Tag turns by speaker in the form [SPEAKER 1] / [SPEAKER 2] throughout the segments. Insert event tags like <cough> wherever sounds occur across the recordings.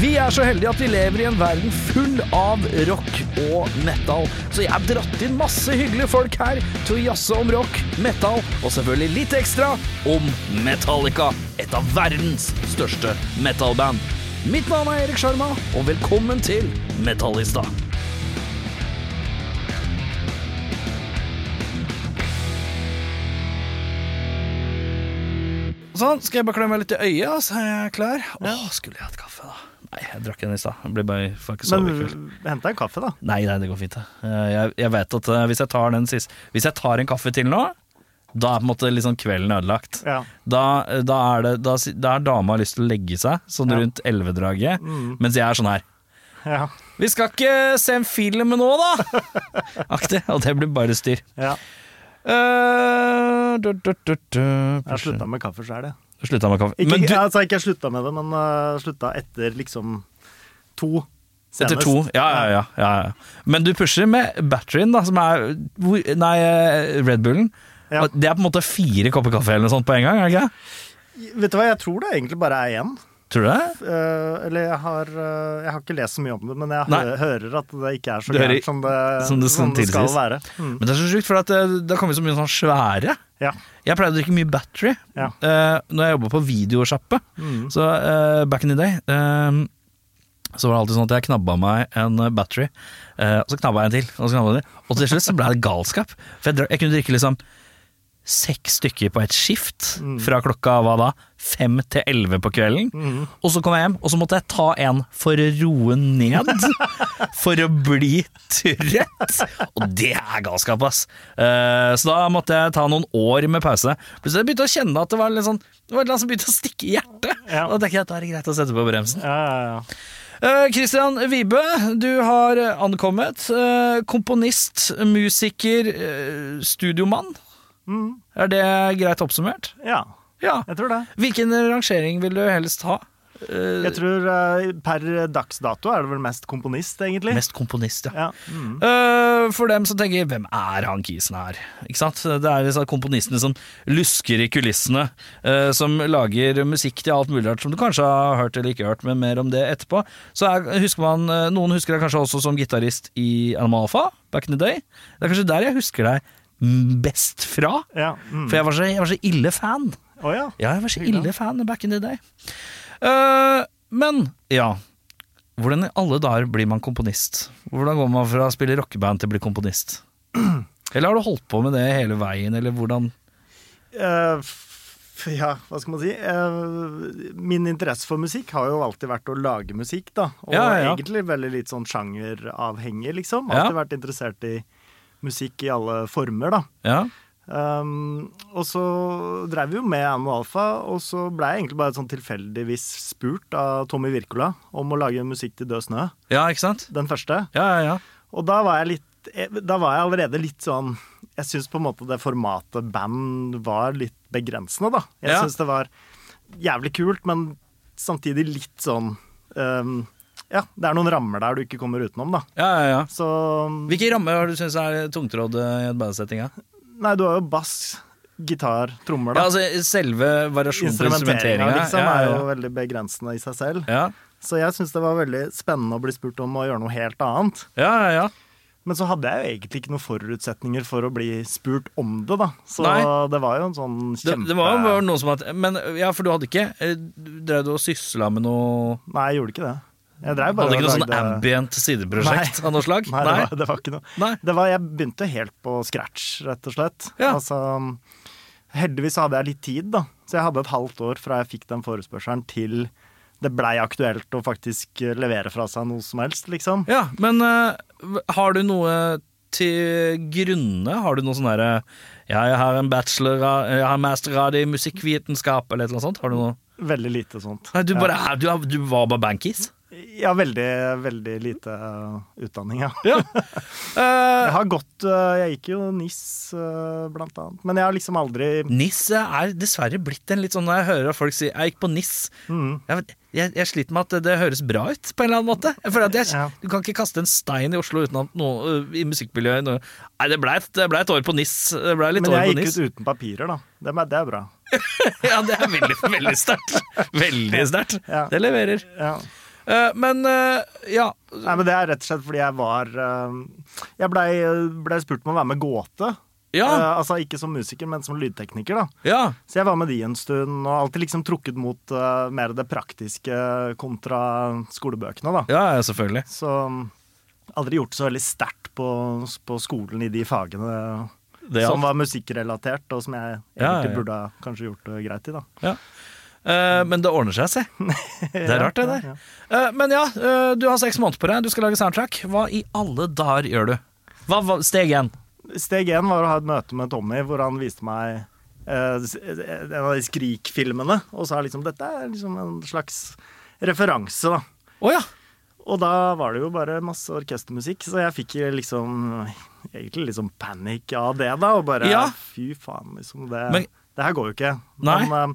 [SPEAKER 1] Vi er så heldige at vi lever i en verden full av rock og metal. Så jeg har dratt inn masse hyggelige folk her til å jazze om rock, metal og selvfølgelig litt ekstra om Metallica. Et av verdens største metalband. Mitt navn er Erik Sjarma, og velkommen til Metallista. Sånn, skal jeg bare klemme meg litt i øyet, og så er jeg klar. Åh, skulle jeg hatt kaffe, da? Nei, jeg drakk en i stad. Jeg Ble bare får ikke sove i kveld.
[SPEAKER 2] Men hent deg en kaffe, da.
[SPEAKER 1] Nei, nei, det går fint. det. Eh, Jeg, jeg vet at eh, hvis jeg tar den siste Hvis jeg tar en kaffe til nå, da er på en måte liksom kvelden ødelagt.
[SPEAKER 2] Ja.
[SPEAKER 1] Da, eh, da, er det, da, si- da har dama lyst til å legge seg, sånn
[SPEAKER 2] Ja. Mm.
[SPEAKER 1] rundt elvedraget, mens jeg er sånn her.
[SPEAKER 2] Ja.
[SPEAKER 1] Vi skal ikke se en film nå,
[SPEAKER 2] <laughs>
[SPEAKER 1] da! Aktig. Og det blir bare styr.
[SPEAKER 2] ja.
[SPEAKER 1] Uh, du, du, du, du.
[SPEAKER 2] Jeg har slutta med kaffe sjøl, jeg.
[SPEAKER 1] Slutta med kaffe.
[SPEAKER 2] Ikke,
[SPEAKER 1] Men du,
[SPEAKER 2] altså, ikke jeg slutta med det, men uh, slutta etter liksom to. Senest.
[SPEAKER 1] etter to ja ja, ja, ja, ja. Men du pusher med batterien, da, som er hvor- Nei, eh, Red Bullen.
[SPEAKER 2] Ja.
[SPEAKER 1] Og Det er på en måte fire kopper kaffe eller noe sånt på en gang? er det ikke? det?
[SPEAKER 2] Vet du hva, jeg tror det egentlig bare er én.
[SPEAKER 1] Tror du det?
[SPEAKER 2] Eh, eller jeg har, eh, jeg har ikke lest så mye om det, men jeg hø
[SPEAKER 1] Nei.
[SPEAKER 2] hører at det ikke er så
[SPEAKER 1] Du hører-
[SPEAKER 2] gærent som det,
[SPEAKER 1] <laughs> som det
[SPEAKER 2] som det skal
[SPEAKER 1] tilsies.
[SPEAKER 2] være. Mm.
[SPEAKER 1] Men det er så sjukt, for at eh, det har kommet så mye sånn svære.
[SPEAKER 2] Ja.
[SPEAKER 1] Jeg pleide å drikke mye battery
[SPEAKER 2] Ja.
[SPEAKER 1] eh, når jeg jobba på videosjappe.
[SPEAKER 2] Mm.
[SPEAKER 1] Så eh, back in the day eh, så var det alltid sånn at jeg knabba meg en eh, battery, eh, og så knabba jeg en til, og så knabba jeg en til. Og til slutt så ble det galskap. For jeg, dra- jeg kunne drikke liksom seks stykker på et skift, fra klokka hva da? Fem til elleve på kvelden. Og så kom jeg hjem, og så måtte jeg ta en for å roe ned. for å bli trøtt. Og det er galskap, ass. Eh, så da måtte jeg ta noen år med pause. Plutselig begynte jeg å kjenne at det var litt sånn Det var noe som begynte å stikke i hjertet.
[SPEAKER 2] Ja.
[SPEAKER 1] Og da tenkte jeg at da er det greit å sette på bremsen.
[SPEAKER 2] Ja, ja, ja.
[SPEAKER 1] Eh, Christian Vibe, du har eh, ankommet. Eh, komponist, musiker, eh, studiomann.
[SPEAKER 2] Mm.
[SPEAKER 1] Er det greit oppsummert?
[SPEAKER 2] ja,
[SPEAKER 1] Ja.
[SPEAKER 2] jeg tror det.
[SPEAKER 1] Hvilken rangering vil du helst ha? Eh,
[SPEAKER 2] Jeg tror eh, per dags dato er det vel mest komponist, egentlig.
[SPEAKER 1] mest komponist, ja.
[SPEAKER 2] Ja. Mm.
[SPEAKER 1] Eh, for dem som tenker 'hvem er han kisen her'? Ikke sant? Det er disse komponistene som lusker i kulissene, eh, som lager musikk til alt mulig rart som du kanskje har hørt eller ikke hørt, men mer om det etterpå. Så er, husker man, eh, Noen husker deg kanskje også som gitarist i Animal Alpha, back in the day. Det er kanskje der jeg husker deg mm, best fra,
[SPEAKER 2] Ja. Mm.
[SPEAKER 1] for jeg var så, jeg var så ille fan.
[SPEAKER 2] Å ja.
[SPEAKER 1] Ja, jeg var så
[SPEAKER 2] Hyggelig.
[SPEAKER 1] ille fan back in the day. Eh, men, ja. Hvordan i alle dager blir man komponist? Hvordan går man fra å spille rockeband til å bli
[SPEAKER 2] <clears throat>
[SPEAKER 1] komponist? Eller har du holdt på med det hele veien, eller hvordan
[SPEAKER 2] Eh, f- ja, hva skal man si? Eh, min interesse for musikk har jo alltid vært å lage musikk, da. Og
[SPEAKER 1] Ja, ja, ja.
[SPEAKER 2] egentlig veldig litt sånn sjangeravhengig, liksom.
[SPEAKER 1] Ja.
[SPEAKER 2] Alltid vært interessert i musikk i alle former, da.
[SPEAKER 1] Ja,
[SPEAKER 2] Um, og så drev vi jo med Anno Alfa, og så ble jeg egentlig bare sånn tilfeldigvis spurt av Tommy Wirkola om å lage musikk til Død snø,
[SPEAKER 1] ja ikke sant?
[SPEAKER 2] den første.
[SPEAKER 1] Ja, ja, ja.
[SPEAKER 2] Og da var jeg litt eh, da var jeg allerede litt sånn Jeg syns på en måte det formatet band var litt begrensende, da. Jeg
[SPEAKER 1] Ja.
[SPEAKER 2] synes syns det var jævlig kult, men samtidig litt sånn um, Ja, det er noen rammer der du ikke kommer utenom, da.
[SPEAKER 1] ja, ja, ja.
[SPEAKER 2] Så
[SPEAKER 1] Hvilke rammer har du syntes er tungtrådd eh, i et bandsetting? Ja?
[SPEAKER 2] Nei, du har jo bass, gitar, trommer,
[SPEAKER 1] Ja,
[SPEAKER 2] da.
[SPEAKER 1] altså, selve variasjonen på
[SPEAKER 2] Instrumenteringa
[SPEAKER 1] instrumenteringa.
[SPEAKER 2] liksom,
[SPEAKER 1] ja,
[SPEAKER 2] er
[SPEAKER 1] ja,
[SPEAKER 2] jo veldig begrensende i seg selv.
[SPEAKER 1] ja.
[SPEAKER 2] Så jeg syns det var veldig spennende å bli spurt om å gjøre noe helt annet.
[SPEAKER 1] ja, ja, ja.
[SPEAKER 2] Men så hadde jeg jo egentlig ikke noen forutsetninger for å bli spurt om det, da. Så
[SPEAKER 1] Nei.
[SPEAKER 2] det var jo en sånn
[SPEAKER 1] Det,
[SPEAKER 2] kjempe...
[SPEAKER 1] det var jo bare noe som at Men ja, for du hadde ikke eh, du Drev du og sysla med noe
[SPEAKER 2] Nei, jeg gjorde ikke det. Jeg dreiv bare
[SPEAKER 1] Hadde ikke noe
[SPEAKER 2] og
[SPEAKER 1] sånn ambient sideprosjekt
[SPEAKER 2] Nei.
[SPEAKER 1] av noe slag?
[SPEAKER 2] Nei, det var, det var ikke noe.
[SPEAKER 1] Nei.
[SPEAKER 2] Det var, jeg begynte helt på scratch, rett og slett.
[SPEAKER 1] Ja.
[SPEAKER 2] Altså, heldigvis så hadde jeg litt tid, da. Så jeg hadde et halvt år fra jeg fikk den forespørselen til det blei aktuelt å faktisk levere fra seg noe som helst, liksom.
[SPEAKER 1] Ja, men eh, har du noe til grunne? Har du noe sånn derre ja, 'Jeg har en bachelor av- Jeg har en mastergrad i musikkvitenskap', eller et eller annet sånt? Har du noe
[SPEAKER 2] Veldig lite sånt.
[SPEAKER 1] Nei, du,
[SPEAKER 2] Ja.
[SPEAKER 1] bare, er- du, er- du var bare bankis?
[SPEAKER 2] Ja, veldig, veldig lite eh, utdanning, ja.
[SPEAKER 1] Eh,
[SPEAKER 2] Jeg har gått eh, Jeg gikk jo NIS, eh, blant annet. Men jeg har liksom aldri
[SPEAKER 1] NIS er dessverre blitt en litt sånn Når jeg hører folk si 'jeg gikk på NIS'
[SPEAKER 2] mm,
[SPEAKER 1] jeg, vet- jeg, jeg sliter med at det, det høres bra ut, på en eller annen måte. Jeg føler at jeg,
[SPEAKER 2] Ja.
[SPEAKER 1] Du kan ikke kaste en stein i Oslo uten at noe øh, i musikkmiljøet noe. Nei, det ble, et, det ble et år på NIS. Det ble litt
[SPEAKER 2] Men
[SPEAKER 1] år
[SPEAKER 2] jeg
[SPEAKER 1] på
[SPEAKER 2] gikk
[SPEAKER 1] NIS.
[SPEAKER 2] ut uten papirer, da. Det er, det er bra.
[SPEAKER 1] <laughs> Ja, det er veldig, veldig sterkt. Veldig sterkt.
[SPEAKER 2] Ja.
[SPEAKER 1] Det leverer.
[SPEAKER 2] Ja.
[SPEAKER 1] Eh, men eh, ja.
[SPEAKER 2] Nei, men Det er rett og slett fordi jeg var eh, Jeg blei ble spurt om å være med gåte.
[SPEAKER 1] Ja,
[SPEAKER 2] Eh, altså Ikke som musiker, men som lydtekniker. da
[SPEAKER 1] ja.
[SPEAKER 2] Så jeg var med de en stund, og alltid liksom trukket mot eh, mer det praktiske kontra skolebøkene. da
[SPEAKER 1] Ja, ja, selvfølgelig.
[SPEAKER 2] Så um, aldri gjort så veldig sterkt på, på skolen i de fagene
[SPEAKER 1] Det er
[SPEAKER 2] som
[SPEAKER 1] alt.
[SPEAKER 2] var musikkrelatert, og som jeg
[SPEAKER 1] Ja,
[SPEAKER 2] egentlig
[SPEAKER 1] ja.
[SPEAKER 2] burde ha kanskje gjort det greit i. da
[SPEAKER 1] Ja. Eh, men det ordner seg,
[SPEAKER 2] <laughs>
[SPEAKER 1] se. Det er rart, det der.
[SPEAKER 2] Ja, ja.
[SPEAKER 1] Eh, men ja, eh, du har seks måneder på deg, du skal lage soundtrack. Hva i alle dager gjør du? Hva, hva, steg én.
[SPEAKER 2] Steg én var å ha et møte med Tommy, hvor han viste meg eh, s- en av de Skrik-filmene, og sa liksom dette er liksom en slags referanse, da.
[SPEAKER 1] Å ja.
[SPEAKER 2] Og da var det jo bare masse orkestermusikk, så jeg fikk liksom egentlig liksom panikk av det, da. Og bare
[SPEAKER 1] Ja.
[SPEAKER 2] fy faen, liksom. Det,
[SPEAKER 1] Men-
[SPEAKER 2] det her går jo ikke.
[SPEAKER 1] Nei.
[SPEAKER 2] Men, eh,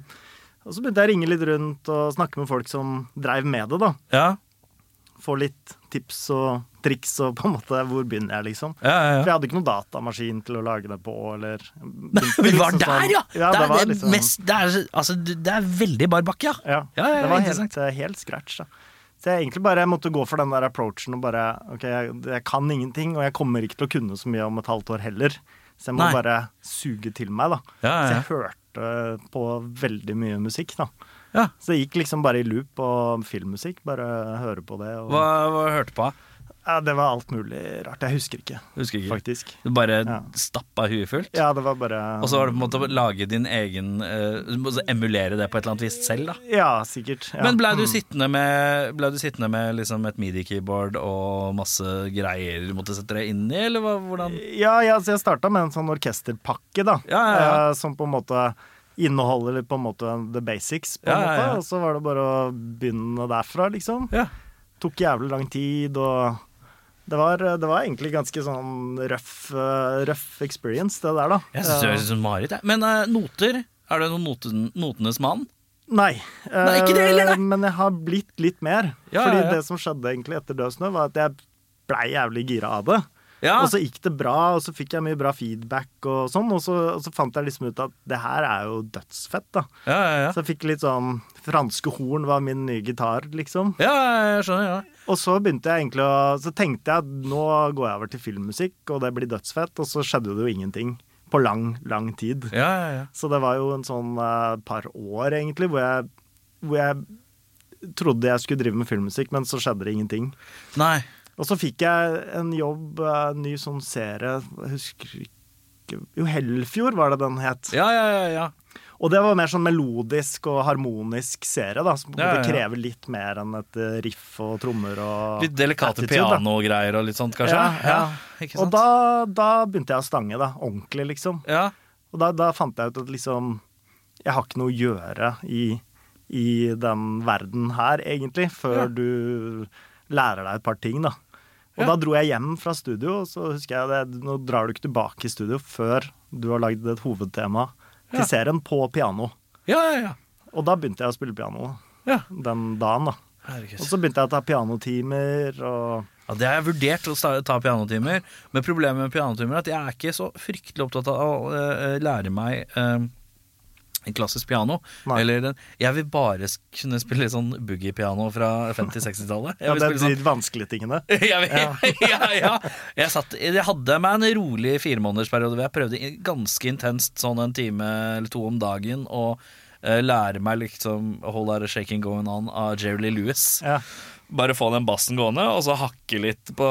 [SPEAKER 2] og så begynte jeg å ringe litt rundt og snakke med folk som dreiv med det, da.
[SPEAKER 1] Ja,
[SPEAKER 2] Få litt tips og triks og på en måte hvor begynner jeg, liksom.
[SPEAKER 1] ja,
[SPEAKER 2] <laughs>
[SPEAKER 1] ja.
[SPEAKER 2] For jeg hadde ikke noen datamaskin til å lage det på, eller
[SPEAKER 1] Vi var
[SPEAKER 2] Liksom
[SPEAKER 1] der,
[SPEAKER 2] sånn-
[SPEAKER 1] ja! det,
[SPEAKER 2] var
[SPEAKER 1] er, det,
[SPEAKER 2] liksom-
[SPEAKER 1] mest, det, er, altså, du- det er veldig bar bakke, ja.
[SPEAKER 2] Ja,
[SPEAKER 1] Ja, ja,
[SPEAKER 2] det var
[SPEAKER 1] interessant.
[SPEAKER 2] helt, eh, helt scratch, da. Så jeg egentlig bare måtte gå for den der approachen og bare OK, jeg, jeg kan ingenting, og jeg kommer ikke til å kunne så mye om et halvt år heller. Så jeg
[SPEAKER 1] Nei.
[SPEAKER 2] må bare suge til meg, da.
[SPEAKER 1] Ja, ja, ja.
[SPEAKER 2] Så jeg hørte på veldig mye musikk, da.
[SPEAKER 1] Ja.
[SPEAKER 2] Så det gikk liksom bare i loop på filmmusikk. Bare høre på det. Og,
[SPEAKER 1] Hva, hva hørte du på?
[SPEAKER 2] ja, det var alt mulig rart. Jeg husker ikke,
[SPEAKER 1] Husker ikke.
[SPEAKER 2] faktisk.
[SPEAKER 1] Du bare
[SPEAKER 2] Ja.
[SPEAKER 1] stappa huet fullt?
[SPEAKER 2] Ja, det var bare
[SPEAKER 1] Og så var det på en måte å lage din egen eh, Du må emulere det på et eller annet vis selv, da.
[SPEAKER 2] Ja, sikkert. Ja.
[SPEAKER 1] Men blei du sittende med, ble du sittende med liksom et midi-keyboard og masse greier du måtte sette deg inn i, eller hva, hvordan
[SPEAKER 2] Ja, ja så jeg starta med en sånn orkesterpakke, da.
[SPEAKER 1] Ja, ja, ja.
[SPEAKER 2] eh, Som på en måte inneholder på en måte the basics, på en
[SPEAKER 1] Ja, ja,
[SPEAKER 2] måte.
[SPEAKER 1] ja.
[SPEAKER 2] Og så var det bare å begynne derfra, liksom.
[SPEAKER 1] Ja.
[SPEAKER 2] Tok jævlig lang tid, og det var, det var egentlig ganske sånn røff, eh, røff experience, det der, da.
[SPEAKER 1] Jeg syns det høres ut som mareritt, jeg. Men eh, noter? Er du noen noten, notenes mann?
[SPEAKER 2] Nei.
[SPEAKER 1] Nei, ikke det heller, nei.
[SPEAKER 2] Eh, Men jeg har blitt litt mer.
[SPEAKER 1] Ja,
[SPEAKER 2] fordi
[SPEAKER 1] ja, ja.
[SPEAKER 2] det som skjedde egentlig etter Død snø, var at jeg blei jævlig gira av det.
[SPEAKER 1] Ja.
[SPEAKER 2] Og så gikk det bra, og så fikk jeg mye bra feedback og sånn. Og så, og så fant jeg liksom ut at det her er jo dødsfett, da.
[SPEAKER 1] ja, ja, ja.
[SPEAKER 2] Så jeg fikk litt sånn Franske horn var min nye gitar, liksom.
[SPEAKER 1] Ja, ja, jeg skjønner. Ja.
[SPEAKER 2] Og så begynte jeg egentlig å Så tenkte jeg at nå går jeg over til filmmusikk, og det blir dødsfett. Og så skjedde det jo ingenting på lang, lang tid.
[SPEAKER 1] Ja, ja, ja.
[SPEAKER 2] Så det var jo en sånn eh, par år, egentlig, hvor jeg, hvor jeg trodde jeg skulle drive med filmmusikk, men så skjedde det ingenting.
[SPEAKER 1] Nei.
[SPEAKER 2] Og så fikk jeg en jobb, eh, en ny sånn serie, jeg husker ikke Jo, Hellfjord var det den het.
[SPEAKER 1] Ja, ja, ja. ja.
[SPEAKER 2] Og det var mer sånn melodisk og harmonisk serie, da, som på en
[SPEAKER 1] Ja,
[SPEAKER 2] måte
[SPEAKER 1] ja, ja.
[SPEAKER 2] krever litt mer enn et eh, riff og trommer og
[SPEAKER 1] Litt delikate
[SPEAKER 2] attitude, da.
[SPEAKER 1] pianogreier og litt sånt, kanskje?
[SPEAKER 2] Ja, ja.
[SPEAKER 1] Ikke
[SPEAKER 2] Og
[SPEAKER 1] sant?
[SPEAKER 2] da, da begynte jeg å stange, da. Ordentlig, liksom.
[SPEAKER 1] ja.
[SPEAKER 2] Og da, da fant jeg ut at liksom Jeg har ikke noe å gjøre i, i den verden her, egentlig, før
[SPEAKER 1] Ja.
[SPEAKER 2] du lærer deg et par ting, da. Og
[SPEAKER 1] Ja.
[SPEAKER 2] da dro jeg hjem fra studio, og så husker jeg det, nå drar du ikke tilbake i studio før du har lagd et hovedtema til
[SPEAKER 1] Ja.
[SPEAKER 2] serien på piano.
[SPEAKER 1] ja, ja,
[SPEAKER 2] Og da begynte jeg å spille piano
[SPEAKER 1] ja. ja.
[SPEAKER 2] den dagen, da.
[SPEAKER 1] Herregud.
[SPEAKER 2] Og så begynte jeg å ta pianotimer og
[SPEAKER 1] Ja, det har jeg vurdert å sta- ta pianotimer, men problemet med pianotimer er at jeg er ikke så fryktelig opptatt av å øh, øh, lære meg øh, en klassisk piano.
[SPEAKER 2] Nei.
[SPEAKER 1] Eller den, jeg vil bare sk- kunne spille sånn boogie-piano fra 50-60-tallet.
[SPEAKER 2] ja,
[SPEAKER 1] Jeg vil
[SPEAKER 2] Det
[SPEAKER 1] spille
[SPEAKER 2] er
[SPEAKER 1] sånn
[SPEAKER 2] de vanskelige tingene.
[SPEAKER 1] <laughs> jeg, vet- ja, ja. Jeg, satt, jeg hadde meg en rolig firemånedersperiode hvor jeg prøvde i- ganske intenst sånn en time eller to om dagen å eh, lære meg liksom A Whole Lotta Shaking Going On av Jerry Lee Lewis.
[SPEAKER 2] Ja.
[SPEAKER 1] Bare få den bassen gående, og så hakke litt
[SPEAKER 2] <laughs>
[SPEAKER 1] på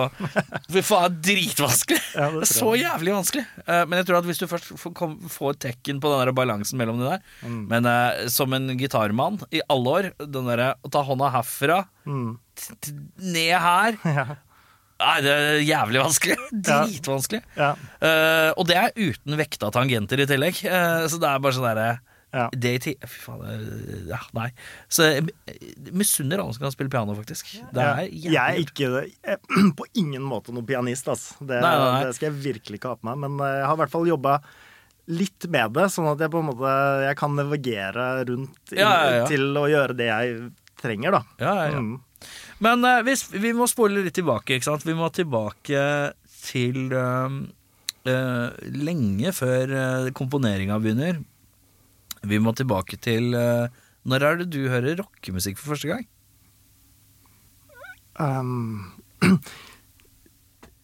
[SPEAKER 1] Fy faen, dritvanskelig!
[SPEAKER 2] Ja, det tror jeg.
[SPEAKER 1] så jævlig vanskelig. Eh, Men jeg tror at hvis du først får- kom- får tekken på den der balansen mellom det der
[SPEAKER 2] Mm.
[SPEAKER 1] Men eh, som en gitarmann i alle år, den derre å ta hånda herfra
[SPEAKER 2] Mm.
[SPEAKER 1] t- t- ned her
[SPEAKER 2] Ja.
[SPEAKER 1] Nei, det er jævlig vanskelig.
[SPEAKER 2] Ja.
[SPEAKER 1] Dritvanskelig.
[SPEAKER 2] Ja.
[SPEAKER 1] Eh, og det er uten vekta tangenter i tillegg. Eh, så det er bare sånn derre
[SPEAKER 2] Ja.
[SPEAKER 1] Det i ti... Fy faen, det- ja, nei. Så jeg misunner alle som kan spille piano, faktisk. Det er
[SPEAKER 2] Jeg jeg er
[SPEAKER 1] jævlig
[SPEAKER 2] ikke jeg, <clears throat> på ingen måte noen pianist, ass. Det,
[SPEAKER 1] Nei, nei, nei.
[SPEAKER 2] det skal jeg virkelig ikke ha på meg. Men eh, jeg har i hvert fall jobba litt med det, sånn at jeg på en måte jeg kan navigere rundt i-
[SPEAKER 1] Ja, ja, ja.
[SPEAKER 2] til å gjøre det jeg trenger, da.
[SPEAKER 1] Ja, ja, ja.
[SPEAKER 2] Mm.
[SPEAKER 1] Men eh, hvis, vi må spole litt tilbake, ikke sant? Vi må tilbake til eh, eh, lenge før uh, komponeringa begynner. Vi må tilbake til eh, Når er det du hører rockemusikk for første gang?
[SPEAKER 2] Um, <clears throat>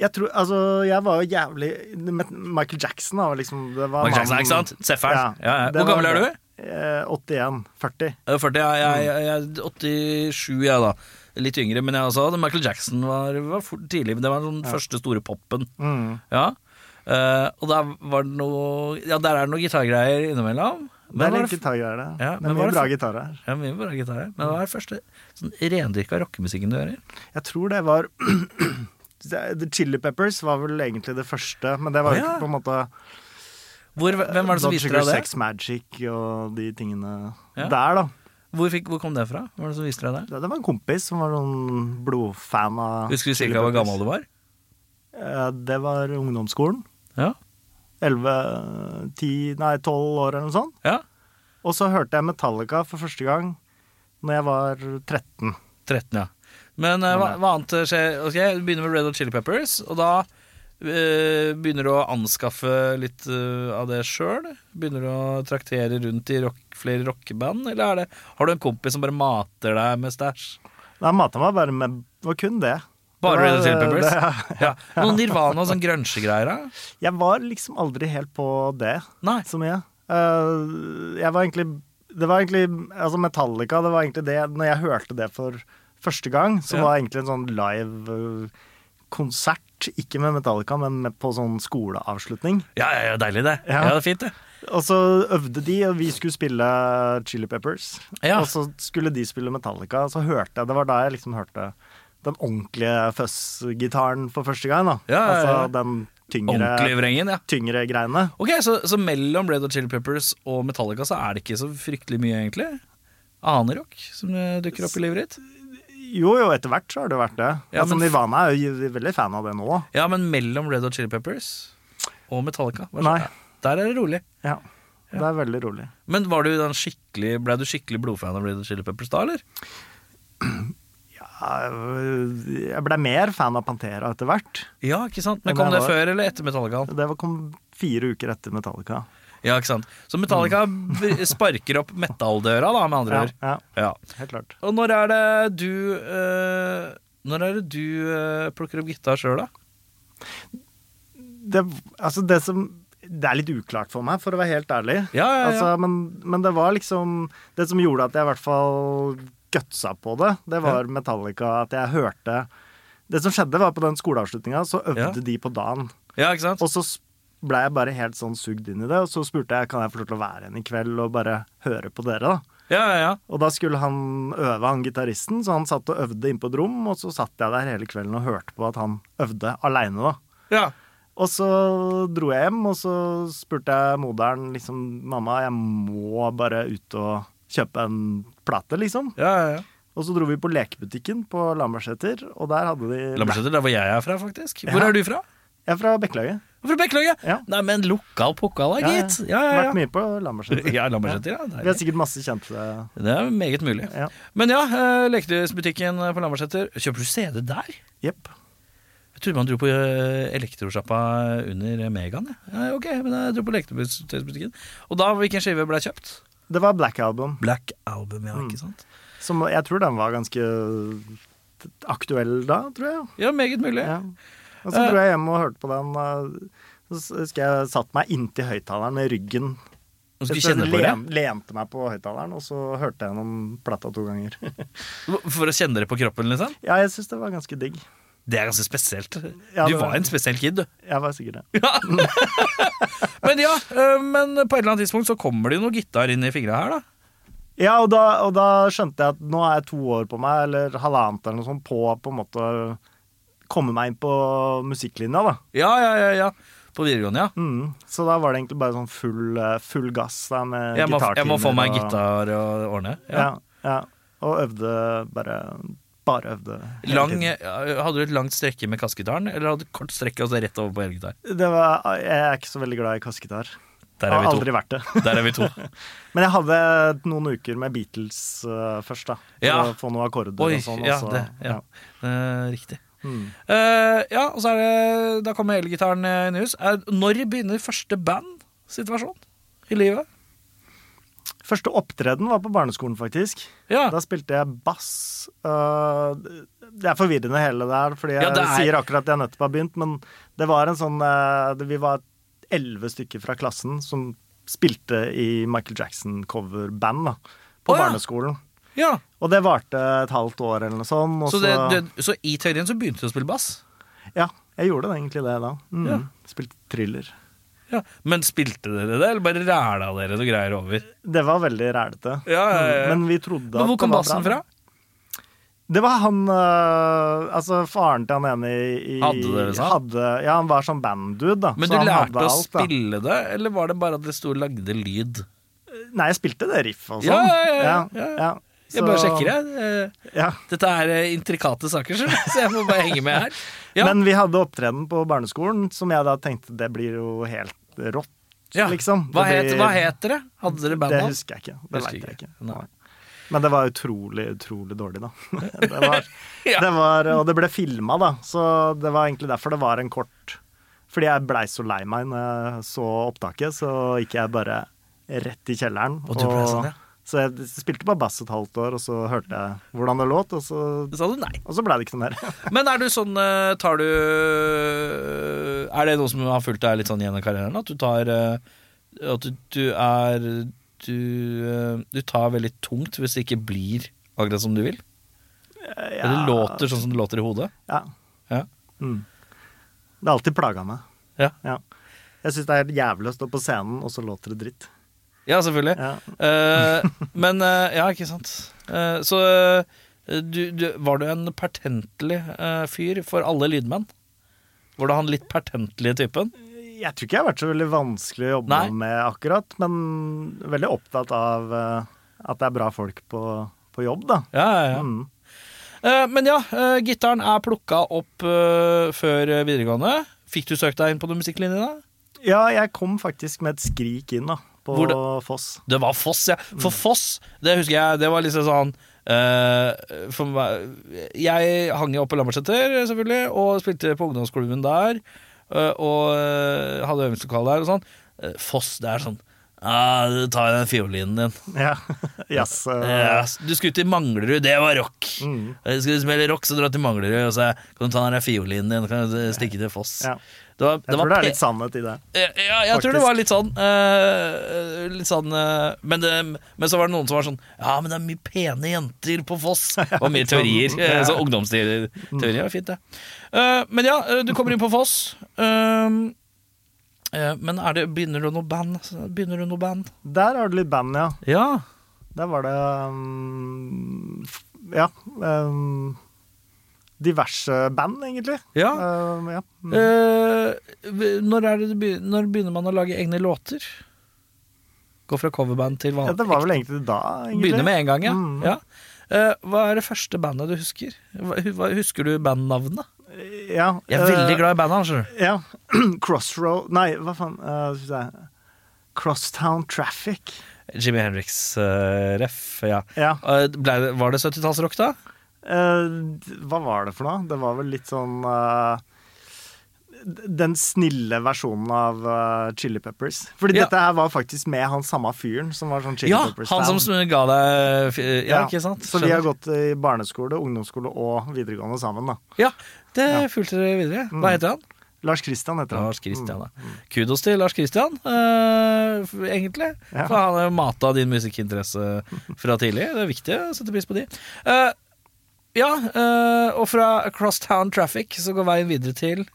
[SPEAKER 2] jeg tror, altså, jeg var jo jævlig Michael Jackson da, var liksom det var
[SPEAKER 1] Michael Jackson,
[SPEAKER 2] mannen-
[SPEAKER 1] ikke sant? Sefferen. Ja, ja.
[SPEAKER 2] det
[SPEAKER 1] Hvor
[SPEAKER 2] var
[SPEAKER 1] gammel er
[SPEAKER 2] det.
[SPEAKER 1] du?
[SPEAKER 2] Eh, 81. 40.
[SPEAKER 1] Eh, 40, ja, jeg, jeg, jeg er 87, jeg da. Litt yngre, men jeg også. hadde- Michael Jackson var, var fort tidlig. men Det var den første store popen.
[SPEAKER 2] Mm.
[SPEAKER 1] Ja. Eh, og der var det noe Ja, der er det noen gitargreier innimellom.
[SPEAKER 2] Det er
[SPEAKER 1] var
[SPEAKER 2] litt
[SPEAKER 1] det-
[SPEAKER 2] gitargreier, det.
[SPEAKER 1] Ja,
[SPEAKER 2] det
[SPEAKER 1] men
[SPEAKER 2] er
[SPEAKER 1] var
[SPEAKER 2] mye
[SPEAKER 1] det
[SPEAKER 2] bra
[SPEAKER 1] for-
[SPEAKER 2] gitar her.
[SPEAKER 1] Ja, mye bra gitar. Men hva er det første sånn rendyrka rockemusikken du hører?
[SPEAKER 2] Jeg tror det var <clears throat> The Chili Peppers var vel egentlig det første, men det var
[SPEAKER 1] Å,
[SPEAKER 2] jo
[SPEAKER 1] ja.
[SPEAKER 2] ikke på en måte
[SPEAKER 1] Hvor, hvem var det som
[SPEAKER 2] Blood
[SPEAKER 1] viste
[SPEAKER 2] Sugar
[SPEAKER 1] deg det?
[SPEAKER 2] Sex Magic og de tingene
[SPEAKER 1] Ja.
[SPEAKER 2] der, da.
[SPEAKER 1] Hvor, fikk, hvor kom det fra? Hvem var det som viste deg det?
[SPEAKER 2] Det det var en kompis som var sånn blodfan av
[SPEAKER 1] Husker du cirka hvor gammel du var?
[SPEAKER 2] var? Det var ungdomsskolen.
[SPEAKER 1] Ja.
[SPEAKER 2] 11, 10, nei 12 år eller noe sånt.
[SPEAKER 1] ja.
[SPEAKER 2] Og så hørte jeg Metallica for første gang når jeg var 13.
[SPEAKER 1] 13, ja. Men eh, hva, hva annet skjer? Ok, Du begynner med Red Hot Chili Peppers, og da eh, begynner du å anskaffe litt eh, av det sjøl? Begynner du å traktere rundt i rock, flere rockeband, eller er det, har du en kompis som bare mater deg med stæsj?
[SPEAKER 2] Da mata meg bare med Det var kun det.
[SPEAKER 1] Bare Red Hot Chili
[SPEAKER 2] Det var-
[SPEAKER 1] Peppers?
[SPEAKER 2] <laughs> det-
[SPEAKER 1] <laughs> Ja. Noen Nirvana og sånn grunge-greier, da?
[SPEAKER 2] Jeg var liksom aldri helt på det.
[SPEAKER 1] Nei.
[SPEAKER 2] så mye. Eh, jeg var egentlig Det var egentlig Altså, Metallica, det var egentlig det Når jeg hørte det for første gang, så
[SPEAKER 1] Ja.
[SPEAKER 2] var det egentlig en sånn live eh, konsert. Ikke med Metallica, men med, på sånn skoleavslutning.
[SPEAKER 1] Ja, ja, ja, deilig det.
[SPEAKER 2] Ja.
[SPEAKER 1] ja det er fint, det.
[SPEAKER 2] Og så øvde de, og vi skulle spille Chili Peppers.
[SPEAKER 1] Ja.
[SPEAKER 2] Og så skulle de spille Metallica, og så hørte jeg Det var da jeg liksom hørte den ordentlige fuzz-gitaren for første gang, da.
[SPEAKER 1] Ja, ja, ja.
[SPEAKER 2] Altså den
[SPEAKER 1] Ordentlig
[SPEAKER 2] tyngre,
[SPEAKER 1] vrengen, ja.
[SPEAKER 2] tyngre greiene.
[SPEAKER 1] Ok, så, så mellom Red Hot Chili Peppers og Metallica så er det ikke så fryktelig mye, egentlig? Aner rock som eh, dukker opp i livet ditt?
[SPEAKER 2] Jo, jo, etter hvert så har det vært det.
[SPEAKER 1] Ja,
[SPEAKER 2] altså,
[SPEAKER 1] men-
[SPEAKER 2] Nirvana er jo veldig fan av det nå.
[SPEAKER 1] Ja, men mellom Red Hot Chili Peppers og Metallica? Hva skjer?
[SPEAKER 2] Nei.
[SPEAKER 1] Der er det rolig.
[SPEAKER 2] Ja. Det er veldig rolig.
[SPEAKER 1] Men var du den skikkelig, ble du skikkelig blodfan av Red Hot Chili Peppers da, eller?
[SPEAKER 2] Jeg ble mer fan av Pantera etter hvert.
[SPEAKER 1] Ja, ikke sant? Men
[SPEAKER 2] Ja,
[SPEAKER 1] kom
[SPEAKER 2] men
[SPEAKER 1] det
[SPEAKER 2] jeg var-
[SPEAKER 1] før eller etter Metallicaen?
[SPEAKER 2] Det var- kom fire uker etter Metallica.
[SPEAKER 1] Ja, ikke sant? Så Metallica
[SPEAKER 2] <laughs>
[SPEAKER 1] b- sparker opp metalldøra, da, med andre
[SPEAKER 2] Mm. Ja,
[SPEAKER 1] ord.
[SPEAKER 2] ja,
[SPEAKER 1] Ja.
[SPEAKER 2] helt klart.
[SPEAKER 1] Og når er det du eh, Når er det du eh, plukker opp gitar sjøl, da?
[SPEAKER 2] Det, altså, det som Det er litt uklart for meg, for å være helt ærlig.
[SPEAKER 1] Ja, ja, ja.
[SPEAKER 2] Altså, men, men det var liksom Det som gjorde at jeg i hvert fall gutsa på det, det var Metallica. At jeg hørte Det som skjedde, var på den skoleavslutninga, så øvde
[SPEAKER 1] Ja.
[SPEAKER 2] de på dagen.
[SPEAKER 1] Ja, ikke sant?
[SPEAKER 2] Og så s- ble jeg bare helt sånn sugd inn i det, og så spurte jeg kan jeg få lov til å være igjen i kveld og bare høre på dere. da.
[SPEAKER 1] Ja, ja, ja.
[SPEAKER 2] Og da skulle han øve, han gitaristen, så han satt og øvde inne på et rom, og så satt jeg der hele kvelden og hørte på at han øvde aleine, da.
[SPEAKER 1] Ja,
[SPEAKER 2] Og så dro jeg hjem, og så spurte jeg moderen liksom Mamma, jeg må bare ut og kjøpe en plate, liksom.
[SPEAKER 1] ja, ja, ja.
[SPEAKER 2] Og så dro vi på lekebutikken på Lambertseter, og der hadde de
[SPEAKER 1] Lambertseter, der hvor jeg er fra, faktisk. Hvor
[SPEAKER 2] Ja.
[SPEAKER 1] er du fra?
[SPEAKER 2] Jeg er fra Bekkelaget.
[SPEAKER 1] Fra Bekkelaget?
[SPEAKER 2] Ja.
[SPEAKER 1] Nei, men lokal pokal, da, gitt. Ja, ja,
[SPEAKER 2] Vært
[SPEAKER 1] ja.
[SPEAKER 2] mye på
[SPEAKER 1] <laughs>
[SPEAKER 2] Lambertseter.
[SPEAKER 1] Ja, Lambertseter, ja.
[SPEAKER 2] Vi har
[SPEAKER 1] Deilig.
[SPEAKER 2] sikkert masse kjente
[SPEAKER 1] Det er meget mulig.
[SPEAKER 2] Ja.
[SPEAKER 1] Men ja, eh, leketøysbutikken på Lambertseter. Kjøper du CD der?
[SPEAKER 2] Jepp.
[SPEAKER 1] Jeg trodde man dro på eh, elektrosjappa under Megaen. jeg. Ja, ok, men jeg dro på leketøysbutikken. Og da, hvilken skive ble kjøpt?
[SPEAKER 2] Det var Black Album,
[SPEAKER 1] Black Album, ja,
[SPEAKER 2] Mm.
[SPEAKER 1] ikke sant?
[SPEAKER 2] som jeg tror den var ganske aktuell da, tror jeg.
[SPEAKER 1] Ja, meget mulig.
[SPEAKER 2] Ja. Og så dro jeg hjem og hørte på den. eh, Så husker jeg satt meg inntil høyttaleren med ryggen.
[SPEAKER 1] Nå skal vi
[SPEAKER 2] Så
[SPEAKER 1] kjenne på det.
[SPEAKER 2] len- Lente meg på høyttaleren, og så hørte jeg gjennom plata to ganger. <laughs>
[SPEAKER 1] For å kjenne det på kroppen, liksom?
[SPEAKER 2] ja, jeg syns det var ganske digg.
[SPEAKER 1] Det er ganske spesielt.
[SPEAKER 2] Ja,
[SPEAKER 1] Du
[SPEAKER 2] det-
[SPEAKER 1] var en spesiell kid, du.
[SPEAKER 2] Jeg var sikkert det.
[SPEAKER 1] Ja. men ja, eh, men på et eller annet tidspunkt så kommer det jo noe gitar inn i fingra her, da.
[SPEAKER 2] Ja, og da, og da skjønte jeg at nå er jeg to år på meg, eller halvannet eller noe sånt, på å på en måte komme meg inn på musikklinja, da.
[SPEAKER 1] Ja, ja, ja, ja. På videregående, ja.
[SPEAKER 2] Mm. Så da var det egentlig bare sånn full, eh, full gass da, med
[SPEAKER 1] Jeg må, jeg må få meg
[SPEAKER 2] og-
[SPEAKER 1] gitar og ordne.
[SPEAKER 2] Ja.
[SPEAKER 1] Ja.
[SPEAKER 2] ja. Og øvde bare Bare øvde. hele
[SPEAKER 1] Lang, eh,
[SPEAKER 2] tiden.
[SPEAKER 1] hadde du et langt strekke med kassegitaren, eller hadde du kort strekke og så rett over på elgitar?
[SPEAKER 2] Det var, jeg er ikke så veldig glad i kassegitar.
[SPEAKER 1] Der
[SPEAKER 2] Har
[SPEAKER 1] er vi to.
[SPEAKER 2] aldri vært
[SPEAKER 1] <laughs>
[SPEAKER 2] det.
[SPEAKER 1] Der er vi
[SPEAKER 2] <laughs>
[SPEAKER 1] to.
[SPEAKER 2] Men jeg hadde noen uker med Beatles eh, først, da. For
[SPEAKER 1] Ja.
[SPEAKER 2] å få noen akkorder
[SPEAKER 1] Oi,
[SPEAKER 2] og sånn. og
[SPEAKER 1] ja,
[SPEAKER 2] så-
[SPEAKER 1] det, ja. Eh, riktig.
[SPEAKER 2] Mm.
[SPEAKER 1] Eh, ja, og så er det Da kommer elgitaren eh, inn i hus. Er, når begynner første band-situasjon i livet?
[SPEAKER 2] Første opptreden var på barneskolen, faktisk.
[SPEAKER 1] Ja,
[SPEAKER 2] Da spilte jeg bass. Eh, det er forvirrende hele det her, fordi jeg
[SPEAKER 1] Ja, det er-
[SPEAKER 2] sier akkurat at jeg nettopp har begynt, men det var en sånn eh, det- Vi var elleve stykker fra klassen som spilte i Michael Jackson-coverband da, på
[SPEAKER 1] Å, ja.
[SPEAKER 2] barneskolen.
[SPEAKER 1] ja.
[SPEAKER 2] Og det varte et halvt år eller noe sånt. Og
[SPEAKER 1] Så, det, det, så i teorien så begynte du å spille bass?
[SPEAKER 2] Ja, jeg gjorde det egentlig det da. Mm.
[SPEAKER 1] Ja.
[SPEAKER 2] Spilte thriller.
[SPEAKER 1] Ja. Men spilte dere det, eller bare ræla dere noe greier over?
[SPEAKER 2] Det var veldig rælete. Mm.
[SPEAKER 1] Ja, ja, ja.
[SPEAKER 2] Men vi trodde
[SPEAKER 1] Men
[SPEAKER 2] at
[SPEAKER 1] hvor kom
[SPEAKER 2] det var
[SPEAKER 1] bassen
[SPEAKER 2] bra.
[SPEAKER 1] fra?
[SPEAKER 2] Det var han øh, Altså faren til han ene i, i
[SPEAKER 1] Hadde dere sant?
[SPEAKER 2] hadde- Ja, han var sånn banddude, da.
[SPEAKER 1] Men
[SPEAKER 2] så
[SPEAKER 1] du
[SPEAKER 2] han
[SPEAKER 1] lærte
[SPEAKER 2] hadde
[SPEAKER 1] å
[SPEAKER 2] alt, da.
[SPEAKER 1] spille det, eller var det bare at det sto og lagde lyd?
[SPEAKER 2] Nei, jeg spilte det riffet og sånn.
[SPEAKER 1] Ja, ja, ja, ja, ja.
[SPEAKER 2] Så-
[SPEAKER 1] Jeg bare sjekker, jeg. Eh,
[SPEAKER 2] Ja.
[SPEAKER 1] Dette er eh, intrikate saker, så <laughs> så jeg må bare henge med her. Ja.
[SPEAKER 2] Men vi hadde opptreden på barneskolen som jeg da tenkte det blir jo helt rått,
[SPEAKER 1] Ja.
[SPEAKER 2] liksom.
[SPEAKER 1] Hva,
[SPEAKER 2] Det
[SPEAKER 1] het,
[SPEAKER 2] blir-
[SPEAKER 1] hva het dere? Hadde dere
[SPEAKER 2] Det
[SPEAKER 1] bandnavn?
[SPEAKER 2] husker jeg ikke. Det
[SPEAKER 1] Husker
[SPEAKER 2] vet jeg
[SPEAKER 1] ikke.
[SPEAKER 2] ikke.
[SPEAKER 1] Nei.
[SPEAKER 2] Nei. Men det var utrolig, utrolig dårlig, da. <laughs> Det var,
[SPEAKER 1] <laughs> Ja.
[SPEAKER 2] det var, og det ble filma, da, så det var egentlig derfor det var en kort. Fordi jeg blei så lei meg når jeg så opptaket, så gikk jeg bare rett i kjelleren.
[SPEAKER 1] Og du ble sånn, ja.
[SPEAKER 2] Så jeg spilte bare bass et halvt år, og så hørte jeg hvordan det låt, og så,
[SPEAKER 1] Sa du nei?
[SPEAKER 2] og så blei det ikke
[SPEAKER 1] <laughs>
[SPEAKER 2] noe mer.
[SPEAKER 1] Men er du sånn eh, Tar du eh, Er det noe som har fulgt deg litt sånn gjennom karrieren? At du tar eh, At du, du er du, eh, du tar veldig tungt hvis det ikke blir akkurat som du vil? Eller låter sånn som det låter i hodet?
[SPEAKER 2] Ja.
[SPEAKER 1] Ja.
[SPEAKER 2] Mm. Det har alltid plaga meg.
[SPEAKER 1] Ja.
[SPEAKER 2] Jeg syns det er helt jævlig å stå på scenen, og så låter det dritt.
[SPEAKER 1] Ja, selvfølgelig.
[SPEAKER 2] Ja.
[SPEAKER 1] Eh, men eh, Ja, ikke sant. Eh, så eh, du, du, var du en pertentlig eh, fyr for alle lydmenn? Var du han litt pertentlige typen?
[SPEAKER 2] Jeg tror ikke jeg har vært så veldig vanskelig å jobbe
[SPEAKER 1] Nei.
[SPEAKER 2] med akkurat, men veldig opptatt av eh, at det er bra folk på, på jobb, da.
[SPEAKER 1] Ja, ja, ja.
[SPEAKER 2] Mm.
[SPEAKER 1] Eh, men ja, eh, gitaren er plukka opp eh, før eh, videregående. Fikk du søkt deg inn på noen musikklinje da?
[SPEAKER 2] Ja, jeg kom faktisk med et skrik inn da, på
[SPEAKER 1] Hvor
[SPEAKER 2] Foss. <laughs>
[SPEAKER 1] Det var Foss, ja. For
[SPEAKER 2] Mm.
[SPEAKER 1] Foss, det husker jeg, det var liksom sånn eh, for meg, Jeg hang jo oppe i Lambertseter, selvfølgelig, og spilte på ungdomsklubben der. eh, og eh, hadde øvingslokale der og sånn. Eh, Foss, det er sånn ah, du tar den fiolinen din.
[SPEAKER 2] Ja, jazz. eh,
[SPEAKER 1] Ja, du skulle til Manglerud, det var rock.
[SPEAKER 2] Mm.
[SPEAKER 1] Eh, Skal du spille rock, så dra til Manglerud, og så kan du ta den der fiolinen din, kan du stikke til Foss.
[SPEAKER 2] Ja.
[SPEAKER 1] Det var, var
[SPEAKER 2] Jeg tror det
[SPEAKER 1] pe-
[SPEAKER 2] er litt sannhet i det.
[SPEAKER 1] ja, ja, jeg tror det
[SPEAKER 2] Faktisk.
[SPEAKER 1] var litt sånn. eh, litt sånn eh, men, det, men så var det noen som var sånn Ja, men det er mye pene jenter på <laughs> Foss. Og mye teorier. eh, så ungdomsteorier teorier er fint, det. Eh, men ja, eh, du kommer inn på Foss. Um, eh, men er det, begynner du noe band? Begynner du noe band?
[SPEAKER 2] Der har du litt band, ja.
[SPEAKER 1] Ja.
[SPEAKER 2] Der var det um, Ja. Um, diverse band, egentlig.
[SPEAKER 1] ja.
[SPEAKER 2] Um, ja. Mm.
[SPEAKER 1] Eh, når, er det, du begyn- når begynner man å lage egne låter? Gå fra coverband til
[SPEAKER 2] ja,
[SPEAKER 1] vanlig
[SPEAKER 2] det var vel egentlig da, egentlig.
[SPEAKER 1] Begynne med en gang, ja.
[SPEAKER 2] Mm.
[SPEAKER 1] ja. Eh, hva er det første bandet du husker? Hva, hu- hva, husker du bandnavnet?
[SPEAKER 2] ja,
[SPEAKER 1] Jeg er
[SPEAKER 2] eh,
[SPEAKER 1] veldig glad i bandet. skjønner du.
[SPEAKER 2] Ja. <clears throat> Crossroad Nei, hva faen eh, skal vi si? Crosstown Traffic.
[SPEAKER 1] Jimmy Henriks-ref, eh, ja.
[SPEAKER 2] Ja.
[SPEAKER 1] Eh, ble, det- var det 70-tallsrock, da?
[SPEAKER 2] Eh, d- hva var det for noe? Det var vel litt sånn eh, d- den snille versjonen av eh, Chili Peppers. Fordi
[SPEAKER 1] Ja.
[SPEAKER 2] dette her var faktisk med han samme fyren som var sånn Chili
[SPEAKER 1] Ja,
[SPEAKER 2] Peppers-fan.
[SPEAKER 1] han som sm- ga deg eh, f- Ja,
[SPEAKER 2] Ja,
[SPEAKER 1] ikke sant?
[SPEAKER 2] Så vi har
[SPEAKER 1] Skjønner.
[SPEAKER 2] gått i barneskole, ungdomsskole og videregående sammen, da.
[SPEAKER 1] Ja, det
[SPEAKER 2] Ja.
[SPEAKER 1] fulgte dere videre.
[SPEAKER 2] Mm.
[SPEAKER 1] Hva heter han?
[SPEAKER 2] Lars Christian heter han.
[SPEAKER 1] Lars Christian, ja. Mm, Kudos til Lars Christian, eh, f- egentlig.
[SPEAKER 2] Ja.
[SPEAKER 1] For han har mata din musikkinteresse fra tidlig. Det er viktig å sette pris på de. Eh, ja, eh, og fra Crosstown Traffic så går veien videre til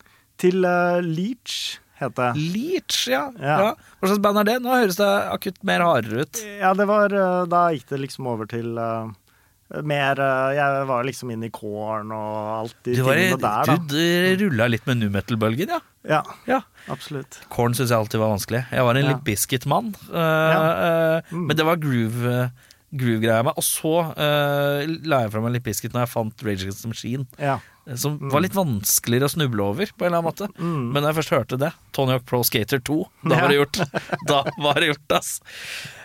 [SPEAKER 2] Til eh, Leach heter jeg.
[SPEAKER 1] Leach. Ja. Ja.
[SPEAKER 2] Ja.
[SPEAKER 1] Hva slags band er det? Nå høres det akutt mer hardere ut.
[SPEAKER 2] Ja, det var eh, Da gikk det liksom over til eh, Mer eh, Jeg var liksom inne i Korn og alt de
[SPEAKER 1] Du, var i-
[SPEAKER 2] tingene der, da.
[SPEAKER 1] du rulla litt med nu metal-bølgen, ja.
[SPEAKER 2] Ja,
[SPEAKER 1] ja.
[SPEAKER 2] absolutt.
[SPEAKER 1] Korn syns jeg alltid var vanskelig. Jeg var en
[SPEAKER 2] Ja.
[SPEAKER 1] Limp Bizkit-mann. eh,
[SPEAKER 2] Ja. Mm.
[SPEAKER 1] eh, Men det var groove eh, groove-greia meg. Og så eh, la jeg fra meg Limp Bizkit når jeg fant Rage Against the Machine,
[SPEAKER 2] Ja.
[SPEAKER 1] eh, som
[SPEAKER 2] Mm.
[SPEAKER 1] var litt vanskeligere å snuble over, på en eller annen måte. Men da jeg først hørte det, Tony Hawk Pro Skater 2, da var det gjort.
[SPEAKER 2] <laughs>
[SPEAKER 1] da var det gjort, ass.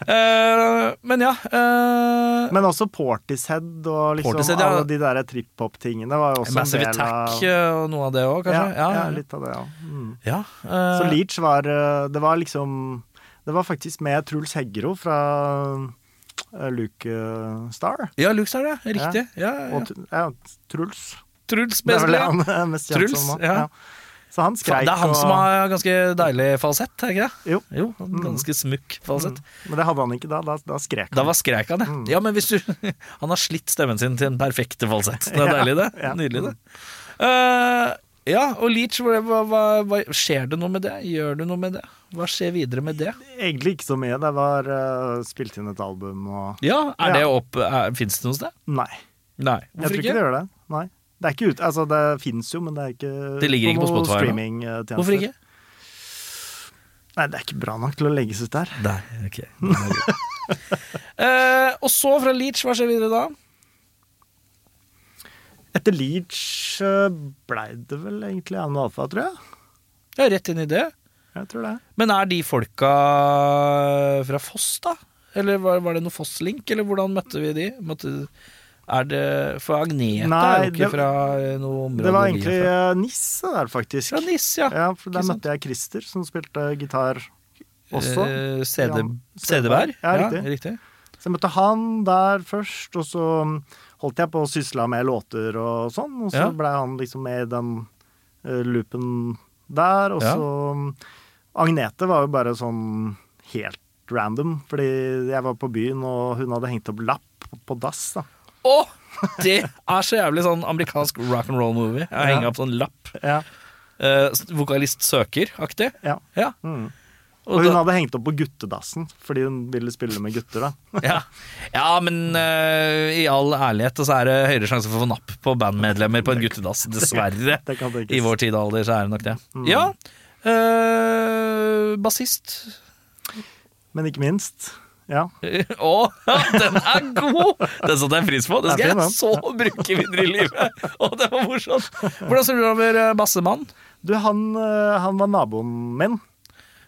[SPEAKER 1] Eh, men ja. eh,
[SPEAKER 2] Men også Portishead og liksom
[SPEAKER 1] Portishead, ja.
[SPEAKER 2] alle de der trip-hop-tingene var jo også
[SPEAKER 1] Massive
[SPEAKER 2] en del av
[SPEAKER 1] Attack eh, og noe av det òg,
[SPEAKER 2] ja,
[SPEAKER 1] kanskje?
[SPEAKER 2] ja, litt av det, ja. Mm.
[SPEAKER 1] Ja,
[SPEAKER 2] Så
[SPEAKER 1] eh,
[SPEAKER 2] Leach var eh, Det var liksom Det var faktisk med Truls Heggero fra eh, Luke eh, Star.
[SPEAKER 1] ja Lux er det. Riktig. Ja. Ja,
[SPEAKER 2] Og Tr- ja, Truls.
[SPEAKER 1] Truls
[SPEAKER 2] Det er
[SPEAKER 1] Besley.
[SPEAKER 2] vel det han <laughs> er mest kjent
[SPEAKER 1] Truls,
[SPEAKER 2] som nå.
[SPEAKER 1] ja.
[SPEAKER 2] Så han skreik
[SPEAKER 1] Faen, det er han
[SPEAKER 2] og
[SPEAKER 1] som har ganske deilig falsett, er det ikke det?
[SPEAKER 2] Jo. Mm.
[SPEAKER 1] han har ganske smukk falsett.
[SPEAKER 2] Men det hadde han ikke da. Da, da skrek
[SPEAKER 1] Da
[SPEAKER 2] han.
[SPEAKER 1] var skrek han,
[SPEAKER 2] Mm.
[SPEAKER 1] ja. ja men hvis du, <laughs> han har slitt stemmen sin til en perfekte falsett. Det er
[SPEAKER 2] Ja,
[SPEAKER 1] deilig, det.
[SPEAKER 2] ja. Mm.
[SPEAKER 1] Nydelig, det. Eh, ja, og Leach, hva, hva, hva- hva, skjer det noe med det? Gjør du noe med det? Hva skjer videre med det?
[SPEAKER 2] Egentlig ikke så mye. Det var eh, spilt inn et album og
[SPEAKER 1] Ja, er det
[SPEAKER 2] Ja.
[SPEAKER 1] opp er, Fins det noe sted?
[SPEAKER 2] Nei.
[SPEAKER 1] Nei.
[SPEAKER 2] Jeg
[SPEAKER 1] Hvorfor
[SPEAKER 2] tror
[SPEAKER 1] ikke?
[SPEAKER 2] ikke det gjør det. Nei. Det er ikke ut, altså det fins jo, men det er ikke
[SPEAKER 1] Det ligger ikke på
[SPEAKER 2] noe
[SPEAKER 1] Spotify nå.
[SPEAKER 2] streamingtjenester.
[SPEAKER 1] Hvorfor ikke?
[SPEAKER 2] Nei, det er ikke bra nok til å legges ut der.
[SPEAKER 1] Nei,
[SPEAKER 2] <laughs>
[SPEAKER 1] ok. Den er god. Eh, og så fra Leach, hva skjer videre da?
[SPEAKER 2] Etter Leach eh, blei det vel egentlig Animal Alpha, tror jeg.
[SPEAKER 1] Ja, rett inn i det.
[SPEAKER 2] Jeg tror det.
[SPEAKER 1] Men er de folka fra Foss, da? Eller var, var det noe Foss-link, eller hvordan møtte vi de? Møtte, er det For Agnete er
[SPEAKER 2] Nei,
[SPEAKER 1] jo ikke
[SPEAKER 2] det-
[SPEAKER 1] fra eh, noe område
[SPEAKER 2] Det
[SPEAKER 1] vi
[SPEAKER 2] var
[SPEAKER 1] er
[SPEAKER 2] egentlig
[SPEAKER 1] fra.
[SPEAKER 2] eh, Nisse der, faktisk.
[SPEAKER 1] Fra Nis, ja.
[SPEAKER 2] Ja, for
[SPEAKER 1] Ikke
[SPEAKER 2] Der
[SPEAKER 1] sant?
[SPEAKER 2] møtte jeg Christer, som spilte gitar også.
[SPEAKER 1] Eh, CD,
[SPEAKER 2] Jan
[SPEAKER 1] CD-bær?
[SPEAKER 2] Ja, riktig.
[SPEAKER 1] riktig.
[SPEAKER 2] Så jeg møtte han der først, og så um, holdt jeg på å sysle med låter og sånn. Og så
[SPEAKER 1] Ja.
[SPEAKER 2] blei han liksom med i den eh, loopen der. Og
[SPEAKER 1] Ja.
[SPEAKER 2] så um, Agnete var jo bare sånn helt random, fordi jeg var på byen, og hun hadde hengt opp lapp på dass. da.
[SPEAKER 1] Å! Det er så jævlig sånn amerikansk rock and roll-movie. Jeg henger opp sånn lapp.
[SPEAKER 2] Ja.
[SPEAKER 1] Eh, vokalist søker-aktig.
[SPEAKER 2] ja.
[SPEAKER 1] Ja.
[SPEAKER 2] Mm.
[SPEAKER 1] Og
[SPEAKER 2] Og
[SPEAKER 1] da-
[SPEAKER 2] hun hadde hengt opp på guttedassen, fordi hun ville spille med gutter, da.
[SPEAKER 1] Ja, ja men eh, i all ærlighet så er det høyere sjanse for å få napp på bandmedlemmer på en guttedass, dessverre.
[SPEAKER 2] <laughs> Det kan Mm. tenkes.
[SPEAKER 1] I vår tid og alder så er det nok det. Ja. eh, bassist. <laughs>
[SPEAKER 2] Men ikke minst. Ja.
[SPEAKER 1] Å, den er god! Den satte jeg pris på. Den skal
[SPEAKER 2] Det er fin,
[SPEAKER 1] jeg
[SPEAKER 2] den.
[SPEAKER 1] så bruke videre i livet. Å, det var morsomt. Hvordan ser du over eh, bassemann?
[SPEAKER 2] Du, han, eh, han var naboen min.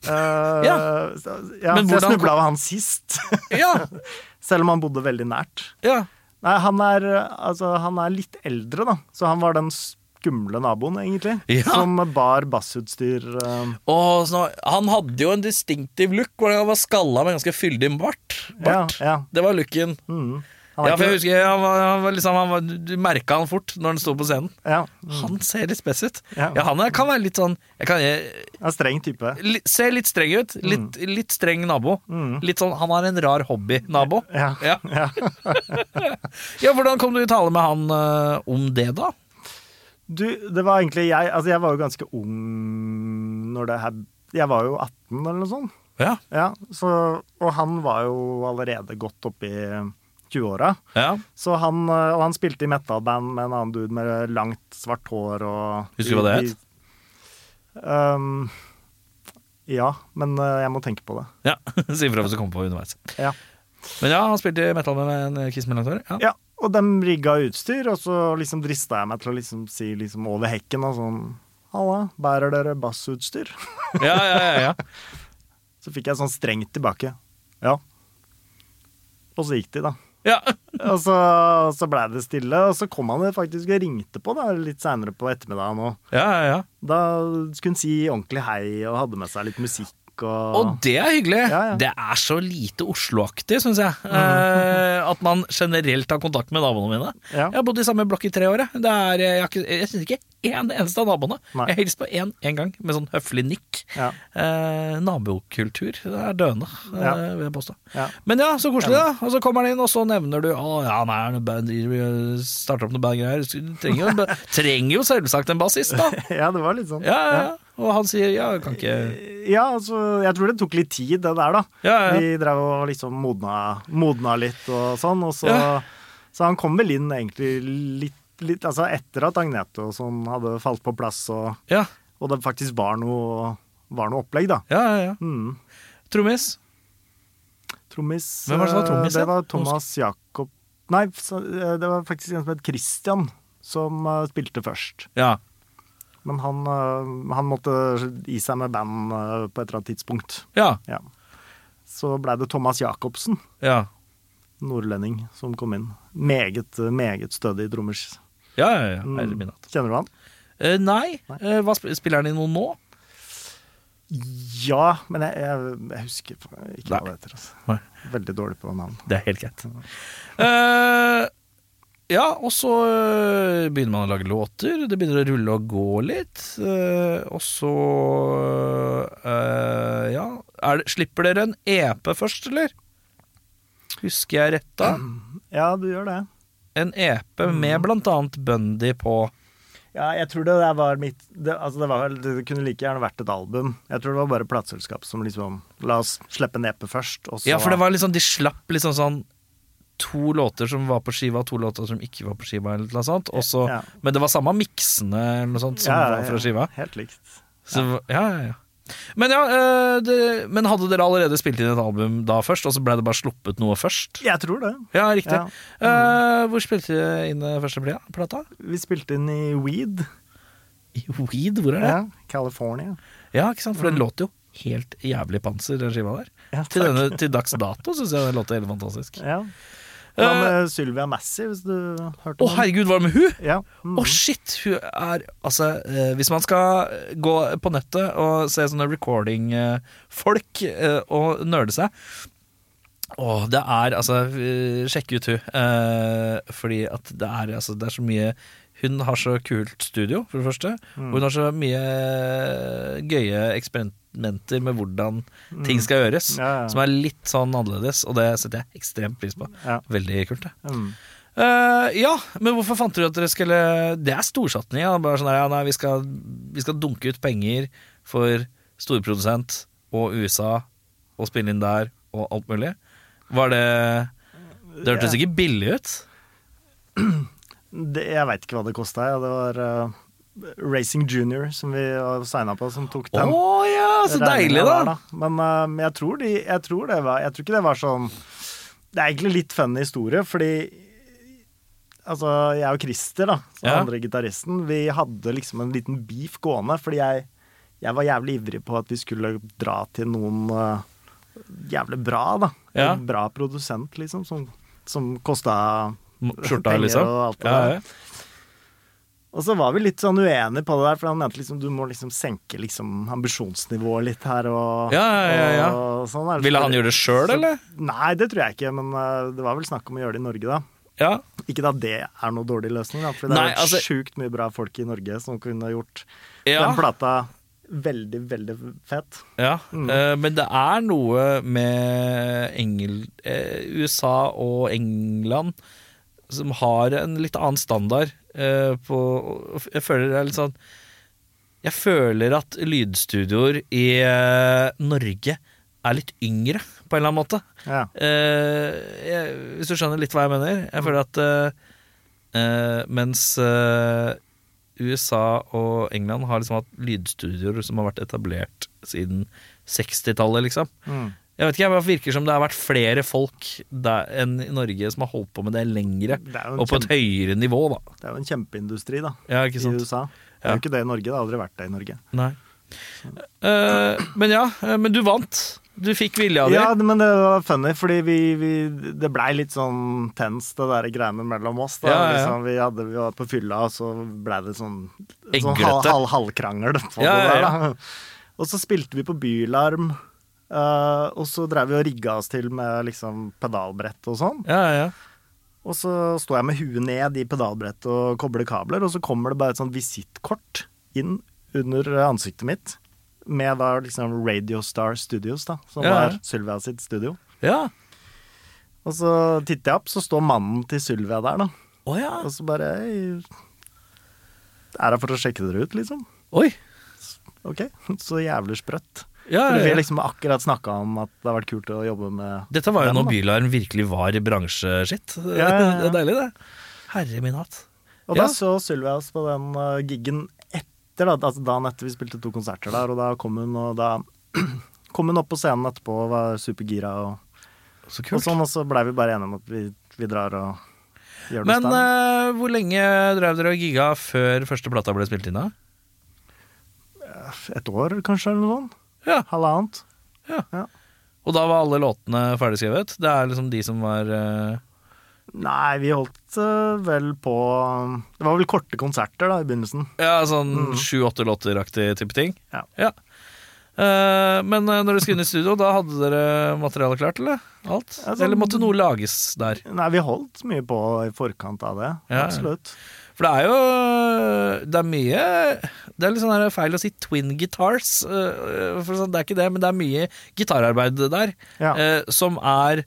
[SPEAKER 2] Eh,
[SPEAKER 1] Ja.
[SPEAKER 2] så- ja,
[SPEAKER 1] Men
[SPEAKER 2] så jeg
[SPEAKER 1] hvordan-
[SPEAKER 2] snubla over han sist, <laughs>
[SPEAKER 1] Ja,
[SPEAKER 2] selv om han bodde veldig nært.
[SPEAKER 1] ja.
[SPEAKER 2] Nei, han er, eh, altså, han er litt eldre, da, så han var den skumle naboen, egentlig.
[SPEAKER 1] Ja.
[SPEAKER 2] Som bar bassutstyr. eh,
[SPEAKER 1] Og så, han hadde jo en distinctive look, hvor han var skalla med ganske fyldig bart.
[SPEAKER 2] ja,
[SPEAKER 1] bart.
[SPEAKER 2] ja.
[SPEAKER 1] Det var looken.
[SPEAKER 2] Mm. Han er
[SPEAKER 1] Ja, for jeg
[SPEAKER 2] ikke-
[SPEAKER 1] husker han var, han var liksom, han var, Du merka han fort når han sto på scenen.
[SPEAKER 2] ja,
[SPEAKER 1] Han ser litt spess ut. Ja,
[SPEAKER 2] Mm. Ja.
[SPEAKER 1] han er, kan være litt sånn jeg kan, jeg,
[SPEAKER 2] en streng type.
[SPEAKER 1] li, Ser litt streng ut. Litt,
[SPEAKER 2] Mm.
[SPEAKER 1] litt streng nabo. Litt sånn, Han har en rar hobby-nabo.
[SPEAKER 2] Ja.
[SPEAKER 1] Ja.
[SPEAKER 2] <laughs> ja.
[SPEAKER 1] ja, hvordan kom du i tale med han eh, om det, da?
[SPEAKER 2] Du, det var egentlig jeg Altså, jeg var jo ganske ung når det her Jeg var jo 18 eller noe sånt.
[SPEAKER 1] Ja,
[SPEAKER 2] Ja, så, og han var jo allerede godt oppe i 20-åra.
[SPEAKER 1] ja.
[SPEAKER 2] Så han, eh, og han spilte i metalband med en annen dude med langt, svart hår og
[SPEAKER 1] Husker du hva det het?
[SPEAKER 2] Ehm, ja, men eh, jeg må tenke på det.
[SPEAKER 1] ja. <laughs> Si ifra hvis du kommer på underveis.
[SPEAKER 2] Ja.
[SPEAKER 1] Men ja, han spilte metal med en Kiss med langt hår. Ja.
[SPEAKER 2] ja, Og de rigga utstyr, og så liksom drista jeg meg til å liksom si liksom over hekken og sånn Halla, bærer dere bassutstyr? <laughs>
[SPEAKER 1] Ja, ja, ja, ja.
[SPEAKER 2] Så fikk jeg sånn strengt tilbake. Ja. Og så gikk de, da.
[SPEAKER 1] ja.
[SPEAKER 2] Og så, så blei det stille, og så kom han faktisk og ringte på da, litt seinere på ettermiddagen. Og
[SPEAKER 1] ja, ja, ja.
[SPEAKER 2] da skulle han si ordentlig hei og hadde med seg litt musikk og,
[SPEAKER 1] Og det er hyggelig.
[SPEAKER 2] Ja, ja. Mm.
[SPEAKER 1] Det er så lite Oslo-aktig, syns jeg. Eh, at man generelt har kontakt med naboene mine.
[SPEAKER 2] Ja.
[SPEAKER 1] Jeg har bodd i samme blokk i tre år. Jeg, det er, jeg, har ikke- jeg syns ikke en eneste av naboene.
[SPEAKER 2] Nei.
[SPEAKER 1] Jeg hilste på én én gang med sånn høflig nikk.
[SPEAKER 2] Ja.
[SPEAKER 1] Eh, nabokultur det er døende, eh,
[SPEAKER 2] Ja.
[SPEAKER 1] vil jeg påstå.
[SPEAKER 2] Ja.
[SPEAKER 1] Men ja, så koselig, da. Og så kommer han inn, og så nevner du Å ja, nei, det er noe band, de starter opp noe bandgreier. Du Trenger, jo-
[SPEAKER 2] <laughs>
[SPEAKER 1] trenger jo selvsagt en bassist, da.
[SPEAKER 2] <laughs> Ja, det var litt sånn.
[SPEAKER 1] Ja, ja, ja. Og han sier ja, jeg kan ikke
[SPEAKER 2] Ja, altså, jeg tror det tok litt tid, det der, da.
[SPEAKER 1] Ja, ja.
[SPEAKER 2] Vi drev og liksom modna, modna litt og sånn, og så
[SPEAKER 1] Ja.
[SPEAKER 2] Så han kom vel inn egentlig litt, litt altså etter at Agnete og sånn hadde falt på plass, og,
[SPEAKER 1] Ja,
[SPEAKER 2] og det faktisk var noe, var noe opplegg, da.
[SPEAKER 1] ja, ja. ja.
[SPEAKER 2] Mm.
[SPEAKER 1] Trommis.
[SPEAKER 2] Trommis
[SPEAKER 1] Hvem var det som var
[SPEAKER 2] eh,
[SPEAKER 1] trommis,
[SPEAKER 2] Det
[SPEAKER 1] ja?
[SPEAKER 2] var Thomas Jakob Nei, så, eh, det var faktisk en som het Christian, som eh, spilte først.
[SPEAKER 1] Ja.
[SPEAKER 2] Men han, eh, han måtte gi seg med band eh, på et eller annet tidspunkt.
[SPEAKER 1] Ja.
[SPEAKER 2] Ja. Så blei det Thomas Jacobsen,
[SPEAKER 1] Ja.
[SPEAKER 2] nordlending, som kom inn. Meget, eh, meget stødig trommers.
[SPEAKER 1] Ja, ja, ja.
[SPEAKER 2] Mm.
[SPEAKER 1] Herre min hatt.
[SPEAKER 2] Kjenner du han?
[SPEAKER 1] Eh, nei,
[SPEAKER 2] Nei.
[SPEAKER 1] Eh, hva sp spiller han i noe nå?
[SPEAKER 2] Ja, men jeg, jeg, jeg husker ikke hva det heter.
[SPEAKER 1] Nei.
[SPEAKER 2] Altså. Veldig dårlig på navn.
[SPEAKER 1] Det er helt greit. Eh, ja, og så eh, begynner man å lage låter. Det begynner å rulle og gå litt. Eh, og så eh, Ja. Er det, slipper dere en EP først, eller? Husker jeg rett da?
[SPEAKER 2] Ja, du gjør det.
[SPEAKER 1] En EP med blant annet Bundy på.
[SPEAKER 2] Ja, jeg tror det der var mitt det, altså det, var, vel- det kunne like gjerne vært et album. Jeg tror det var bare plateselskap som liksom La oss slippe en EP først, og så
[SPEAKER 1] Ja, for det var liksom, de slapp liksom sånn to låter som var på skiva, og to låter som ikke var på skiva, eller noe sånt. Og så,
[SPEAKER 2] Ja.
[SPEAKER 1] Men det var samme miksene eller noe sånt som
[SPEAKER 2] Ja, ja,
[SPEAKER 1] var
[SPEAKER 2] ja.
[SPEAKER 1] fra skiva.
[SPEAKER 2] Helt likt.
[SPEAKER 1] Så, ja, ja, ja. Men, ja, eh, det, men hadde dere allerede spilt inn et album da først, og så ble det bare sluppet noe først?
[SPEAKER 2] Jeg tror det.
[SPEAKER 1] Ja, riktig.
[SPEAKER 2] Ja.
[SPEAKER 1] Eh, hvor spilte dere inn eh, første pla- plata?
[SPEAKER 2] Vi spilte inn i Weed.
[SPEAKER 1] I Weed, hvor er det?
[SPEAKER 2] Ja, California.
[SPEAKER 1] Ja, ikke sant? For den låter jo helt jævlig panser, den skiva der.
[SPEAKER 2] Ja,
[SPEAKER 1] til, denne, til dags dato syns jeg den låter helt fantastisk. Å,
[SPEAKER 2] Ja. Hva
[SPEAKER 1] Eh,
[SPEAKER 2] med Sylvia Massey, hvis du hørte om henne?
[SPEAKER 1] herregud, hva er det med hun?
[SPEAKER 2] Ja.
[SPEAKER 1] Å,
[SPEAKER 2] Mm.
[SPEAKER 1] shit! Hun er Altså, eh, hvis man skal gå på nettet og se sånne recording-folk eh, og nerde seg Åh, det er altså eh, Sjekk ut hun. eh, fordi at det er, altså, det er så mye Hun har så kult studio, for det første.
[SPEAKER 2] Mm.
[SPEAKER 1] Og hun har så mye gøye eksperimenter med hvordan ting skal gjøres.
[SPEAKER 2] Mm. Ja, ja.
[SPEAKER 1] Som er litt sånn annerledes, og det setter jeg ekstremt pris på.
[SPEAKER 2] Ja.
[SPEAKER 1] Veldig kult, det.
[SPEAKER 2] Mm.
[SPEAKER 1] Eh, ja, men hvorfor fant dere at dere skulle Det er storsatning. Ja. Bare sånn der, ja, nei, vi, skal, vi skal dunke ut penger for storprodusent og USA og spille inn der og alt mulig. Var det Det hørtes ikke billig ut?
[SPEAKER 2] Mm. Det, jeg veit ikke hva det kosta. Ja. Det var eh, Racing Junior som vi signa på, som tok
[SPEAKER 1] Å
[SPEAKER 2] den.
[SPEAKER 1] ja, så
[SPEAKER 2] regningen
[SPEAKER 1] deilig,
[SPEAKER 2] der,
[SPEAKER 1] da!
[SPEAKER 2] Men eh, jeg, tror de, jeg, tror det var, jeg tror ikke det var sånn Det er egentlig litt funny historie, fordi Altså, jeg og Christer, da, som er
[SPEAKER 1] Ja.
[SPEAKER 2] andre gitaristen, vi hadde liksom en liten beef gående, fordi jeg, jeg var jævlig ivrig på at vi skulle dra til noen eh, jævlig bra, da.
[SPEAKER 1] Ja.
[SPEAKER 2] En bra produsent, liksom, som, som kosta
[SPEAKER 1] Skjorta,
[SPEAKER 2] penger
[SPEAKER 1] liksom.
[SPEAKER 2] og alt det
[SPEAKER 1] Ja,
[SPEAKER 2] der.
[SPEAKER 1] ja.
[SPEAKER 2] Og så var vi litt sånn uenige på det der, for han mente liksom du må liksom senke liksom ambisjonsnivået litt her. Og,
[SPEAKER 1] Ja, ja, ja, ja.
[SPEAKER 2] og sånn er det.
[SPEAKER 1] Ville han gjøre det sjøl, eller?
[SPEAKER 2] Nei, det tror jeg ikke, men eh, det var vel snakk om å gjøre det i Norge, da.
[SPEAKER 1] Ja.
[SPEAKER 2] Ikke at det er noe dårlig løsning, da, for det
[SPEAKER 1] Nei,
[SPEAKER 2] er
[SPEAKER 1] altså-
[SPEAKER 2] jo sjukt mye bra folk i Norge som kunne gjort
[SPEAKER 1] Ja.
[SPEAKER 2] den plata veldig, veldig fett.
[SPEAKER 1] Ja, eh, men det er noe med Engel, eh, USA og England som har en litt annen standard eh, på Jeg føler det er litt sånn Jeg føler at lydstudioer i eh, Norge er litt yngre, på en eller annen måte.
[SPEAKER 2] Ja.
[SPEAKER 1] Eh, jeg, hvis du skjønner litt hva jeg mener. Jeg føler at eh, eh, mens eh, USA og England har liksom hatt lydstudioer som har vært etablert siden 60-tallet, liksom.
[SPEAKER 2] Mm.
[SPEAKER 1] Jeg vet ikke, jeg bare virker som det har vært flere folk der enn i Norge som har holdt på med det lengre,
[SPEAKER 2] Det er jo en
[SPEAKER 1] og på et høyere nivå, da.
[SPEAKER 2] Det er jo en kjempeindustri, da,
[SPEAKER 1] Ja, ikke
[SPEAKER 2] i
[SPEAKER 1] sant?
[SPEAKER 2] USA.
[SPEAKER 1] Ja.
[SPEAKER 2] Det er jo ikke det i Norge, det har aldri vært det i Norge.
[SPEAKER 1] Nei. Eh, men ja, eh, men du vant. Du fikk vilja di.
[SPEAKER 2] Ja, men det var funny, fordi vi, vi, det blei litt sånn tenst, det der greiene mellom oss. Da.
[SPEAKER 1] Ja, ja, ja.
[SPEAKER 2] Liksom, vi, hadde, vi var på fylla, og så blei det sånn, sånn
[SPEAKER 1] Eggrette.
[SPEAKER 2] halv, halv, halvkrangel. på
[SPEAKER 1] Ja,
[SPEAKER 2] det
[SPEAKER 1] ja,
[SPEAKER 2] der, da. Og så spilte vi på bylarm, eh, og så dreiv vi og rigga oss til med liksom pedalbrett og sånn.
[SPEAKER 1] Ja, ja.
[SPEAKER 2] Og så står jeg med huet ned i pedalbrettet og kobler kabler, og så kommer det bare et sånt visittkort inn under ansiktet mitt. Med da liksom Radio Star Studios, da, som
[SPEAKER 1] Ja, ja.
[SPEAKER 2] var Sylvia sitt studio.
[SPEAKER 1] ja.
[SPEAKER 2] Og så titter jeg opp, så står mannen til Sylvia der, da.
[SPEAKER 1] Å ja.
[SPEAKER 2] Og så bare «Hei, Er her for å sjekke dere ut, liksom.
[SPEAKER 1] Oi.
[SPEAKER 2] <laughs> Ok, så jævlig sprøtt.
[SPEAKER 1] Ja,
[SPEAKER 2] Fordi
[SPEAKER 1] ja,
[SPEAKER 2] vi
[SPEAKER 1] ja.
[SPEAKER 2] liksom akkurat snakka om at det har vært kult å jobbe med
[SPEAKER 1] Dette var jo
[SPEAKER 2] dem,
[SPEAKER 1] når
[SPEAKER 2] da.
[SPEAKER 1] Bylarm virkelig var bransjeskitt.
[SPEAKER 2] Ja, ja, ja.
[SPEAKER 1] <laughs> Det er deilig, det. Herre min hatt.
[SPEAKER 2] Og da
[SPEAKER 1] Ja.
[SPEAKER 2] så Sylvia oss på den uh, giggen etter, da, altså dagen etter vi spilte to konserter der, og da kom hun, og da <clears throat> kom hun opp på scenen etterpå og var supergira. Og,
[SPEAKER 1] Så
[SPEAKER 2] og
[SPEAKER 1] kult.
[SPEAKER 2] sånn, og så blei vi bare enige om at vi, vi drar og gjør det
[SPEAKER 1] Men eh, hvor lenge drev dere og gigga før første plata ble spilt inn? da? eh,
[SPEAKER 2] Et år, kanskje, eller noe sånt?
[SPEAKER 1] Ja,
[SPEAKER 2] Halvannet?
[SPEAKER 1] Og da var alle låtene ferdigskrevet? Det er liksom de som var eh,
[SPEAKER 2] Nei, vi holdt eh, vel på Det var vel korte konserter da i begynnelsen.
[SPEAKER 1] Ja, sånn sju-åtte låter-aktig type ting?
[SPEAKER 2] Ja.
[SPEAKER 1] Eh, men eh, når dere skulle inn i studio, da hadde dere materialet klart, eller? Alt?
[SPEAKER 2] Ja, sånn-
[SPEAKER 1] Eller måtte noe lages der?
[SPEAKER 2] Nei, vi holdt mye på i forkant av det.
[SPEAKER 1] Ja.
[SPEAKER 2] Absolutt.
[SPEAKER 1] For det er jo Det er mye Det er litt sånn her feil å si twin guitars. eh, For sånn, det er ikke det, men det er mye gitararbeid der
[SPEAKER 2] Ja.
[SPEAKER 1] eh, som er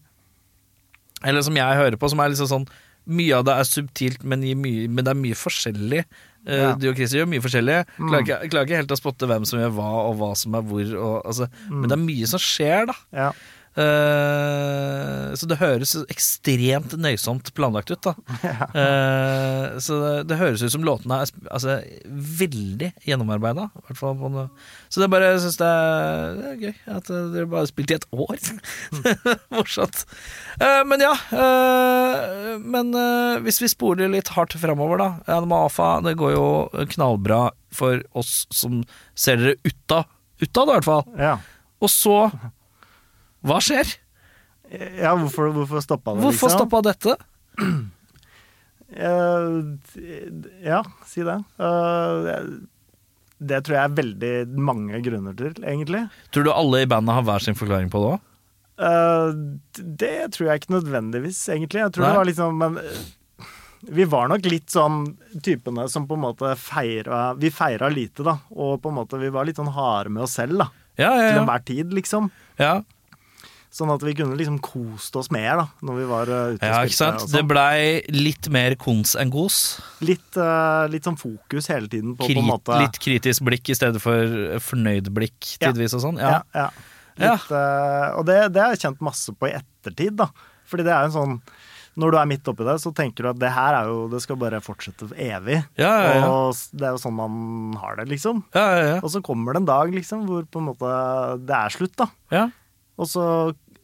[SPEAKER 1] Eller som jeg hører på, som er liksom sånn Mye av det er subtilt, men, gir mye, men det er mye forskjellig. Eh,
[SPEAKER 2] Ja. Mm.
[SPEAKER 1] Du og Chris gjør mye forskjellig. Klarer, ikke, klarer ikke helt å spotte hvem som gjør hva, og hva som er hvor. Og, altså,
[SPEAKER 2] Mm.
[SPEAKER 1] Men det er mye som skjer, da.
[SPEAKER 2] Ja.
[SPEAKER 1] Eh, så det høres ekstremt nøysomt planlagt ut, da. Eh, så det, det høres ut som låtene er sp- altså, veldig gjennomarbeida. i hvert fall på noe- Så det er bare, jeg syns det, er- det er gøy at eh, dere bare har spilt i et år. <laughs> Morsomt. Eh, men ja. eh, men eh, hvis vi spoler litt hardt framover, da. Anima Afa, det går jo knallbra for oss som ser dere uta. Uta, da, i hvert fall.
[SPEAKER 2] ja.
[SPEAKER 1] Og så Hva skjer?
[SPEAKER 2] ja hvorfor, hvorfor stoppa det, liksom?
[SPEAKER 1] Hvorfor stoppa dette?
[SPEAKER 2] Eh, ja, si det. Eh, det tror jeg er veldig mange grunner til, egentlig.
[SPEAKER 1] Tror du alle i bandet har hver sin forklaring på det òg?
[SPEAKER 2] Eh, det tror jeg ikke nødvendigvis, egentlig. Jeg tror
[SPEAKER 1] Nei.
[SPEAKER 2] det var liksom Men eh, vi var nok litt sånn typene som på en måte feira Vi feira lite, da. Og på en måte vi var litt sånn harde med oss selv, da.
[SPEAKER 1] Ja, ja,
[SPEAKER 2] Til
[SPEAKER 1] ja.
[SPEAKER 2] enhver tid, liksom.
[SPEAKER 1] ja.
[SPEAKER 2] Sånn at vi kunne liksom kost oss mer, da. Når vi var eh, ute
[SPEAKER 1] ja
[SPEAKER 2] og
[SPEAKER 1] ikke
[SPEAKER 2] spilte.
[SPEAKER 1] sant?
[SPEAKER 2] og
[SPEAKER 1] Det
[SPEAKER 2] sånn.
[SPEAKER 1] blei litt mer kons enn kos.
[SPEAKER 2] litt, eh, litt sånn fokus hele tiden på på en
[SPEAKER 1] Krit,
[SPEAKER 2] måte
[SPEAKER 1] litt kritisk blikk i stedet for eh, fornøyd blikk
[SPEAKER 2] Ja.
[SPEAKER 1] tidvis og sånn.
[SPEAKER 2] Ja.
[SPEAKER 1] Ja.
[SPEAKER 2] ja, Litt, eh, og det, det har jeg kjent masse på i ettertid, da. Fordi det er jo en sånn Når du er midt oppi det, så tenker du at det her er jo Det skal bare fortsette evig.
[SPEAKER 1] Ja, ja, ja.
[SPEAKER 2] Og s- det er jo sånn man har det, liksom.
[SPEAKER 1] Ja, ja, ja.
[SPEAKER 2] Og så kommer det en dag liksom hvor på en måte det er slutt, da.
[SPEAKER 1] ja.
[SPEAKER 2] Og så,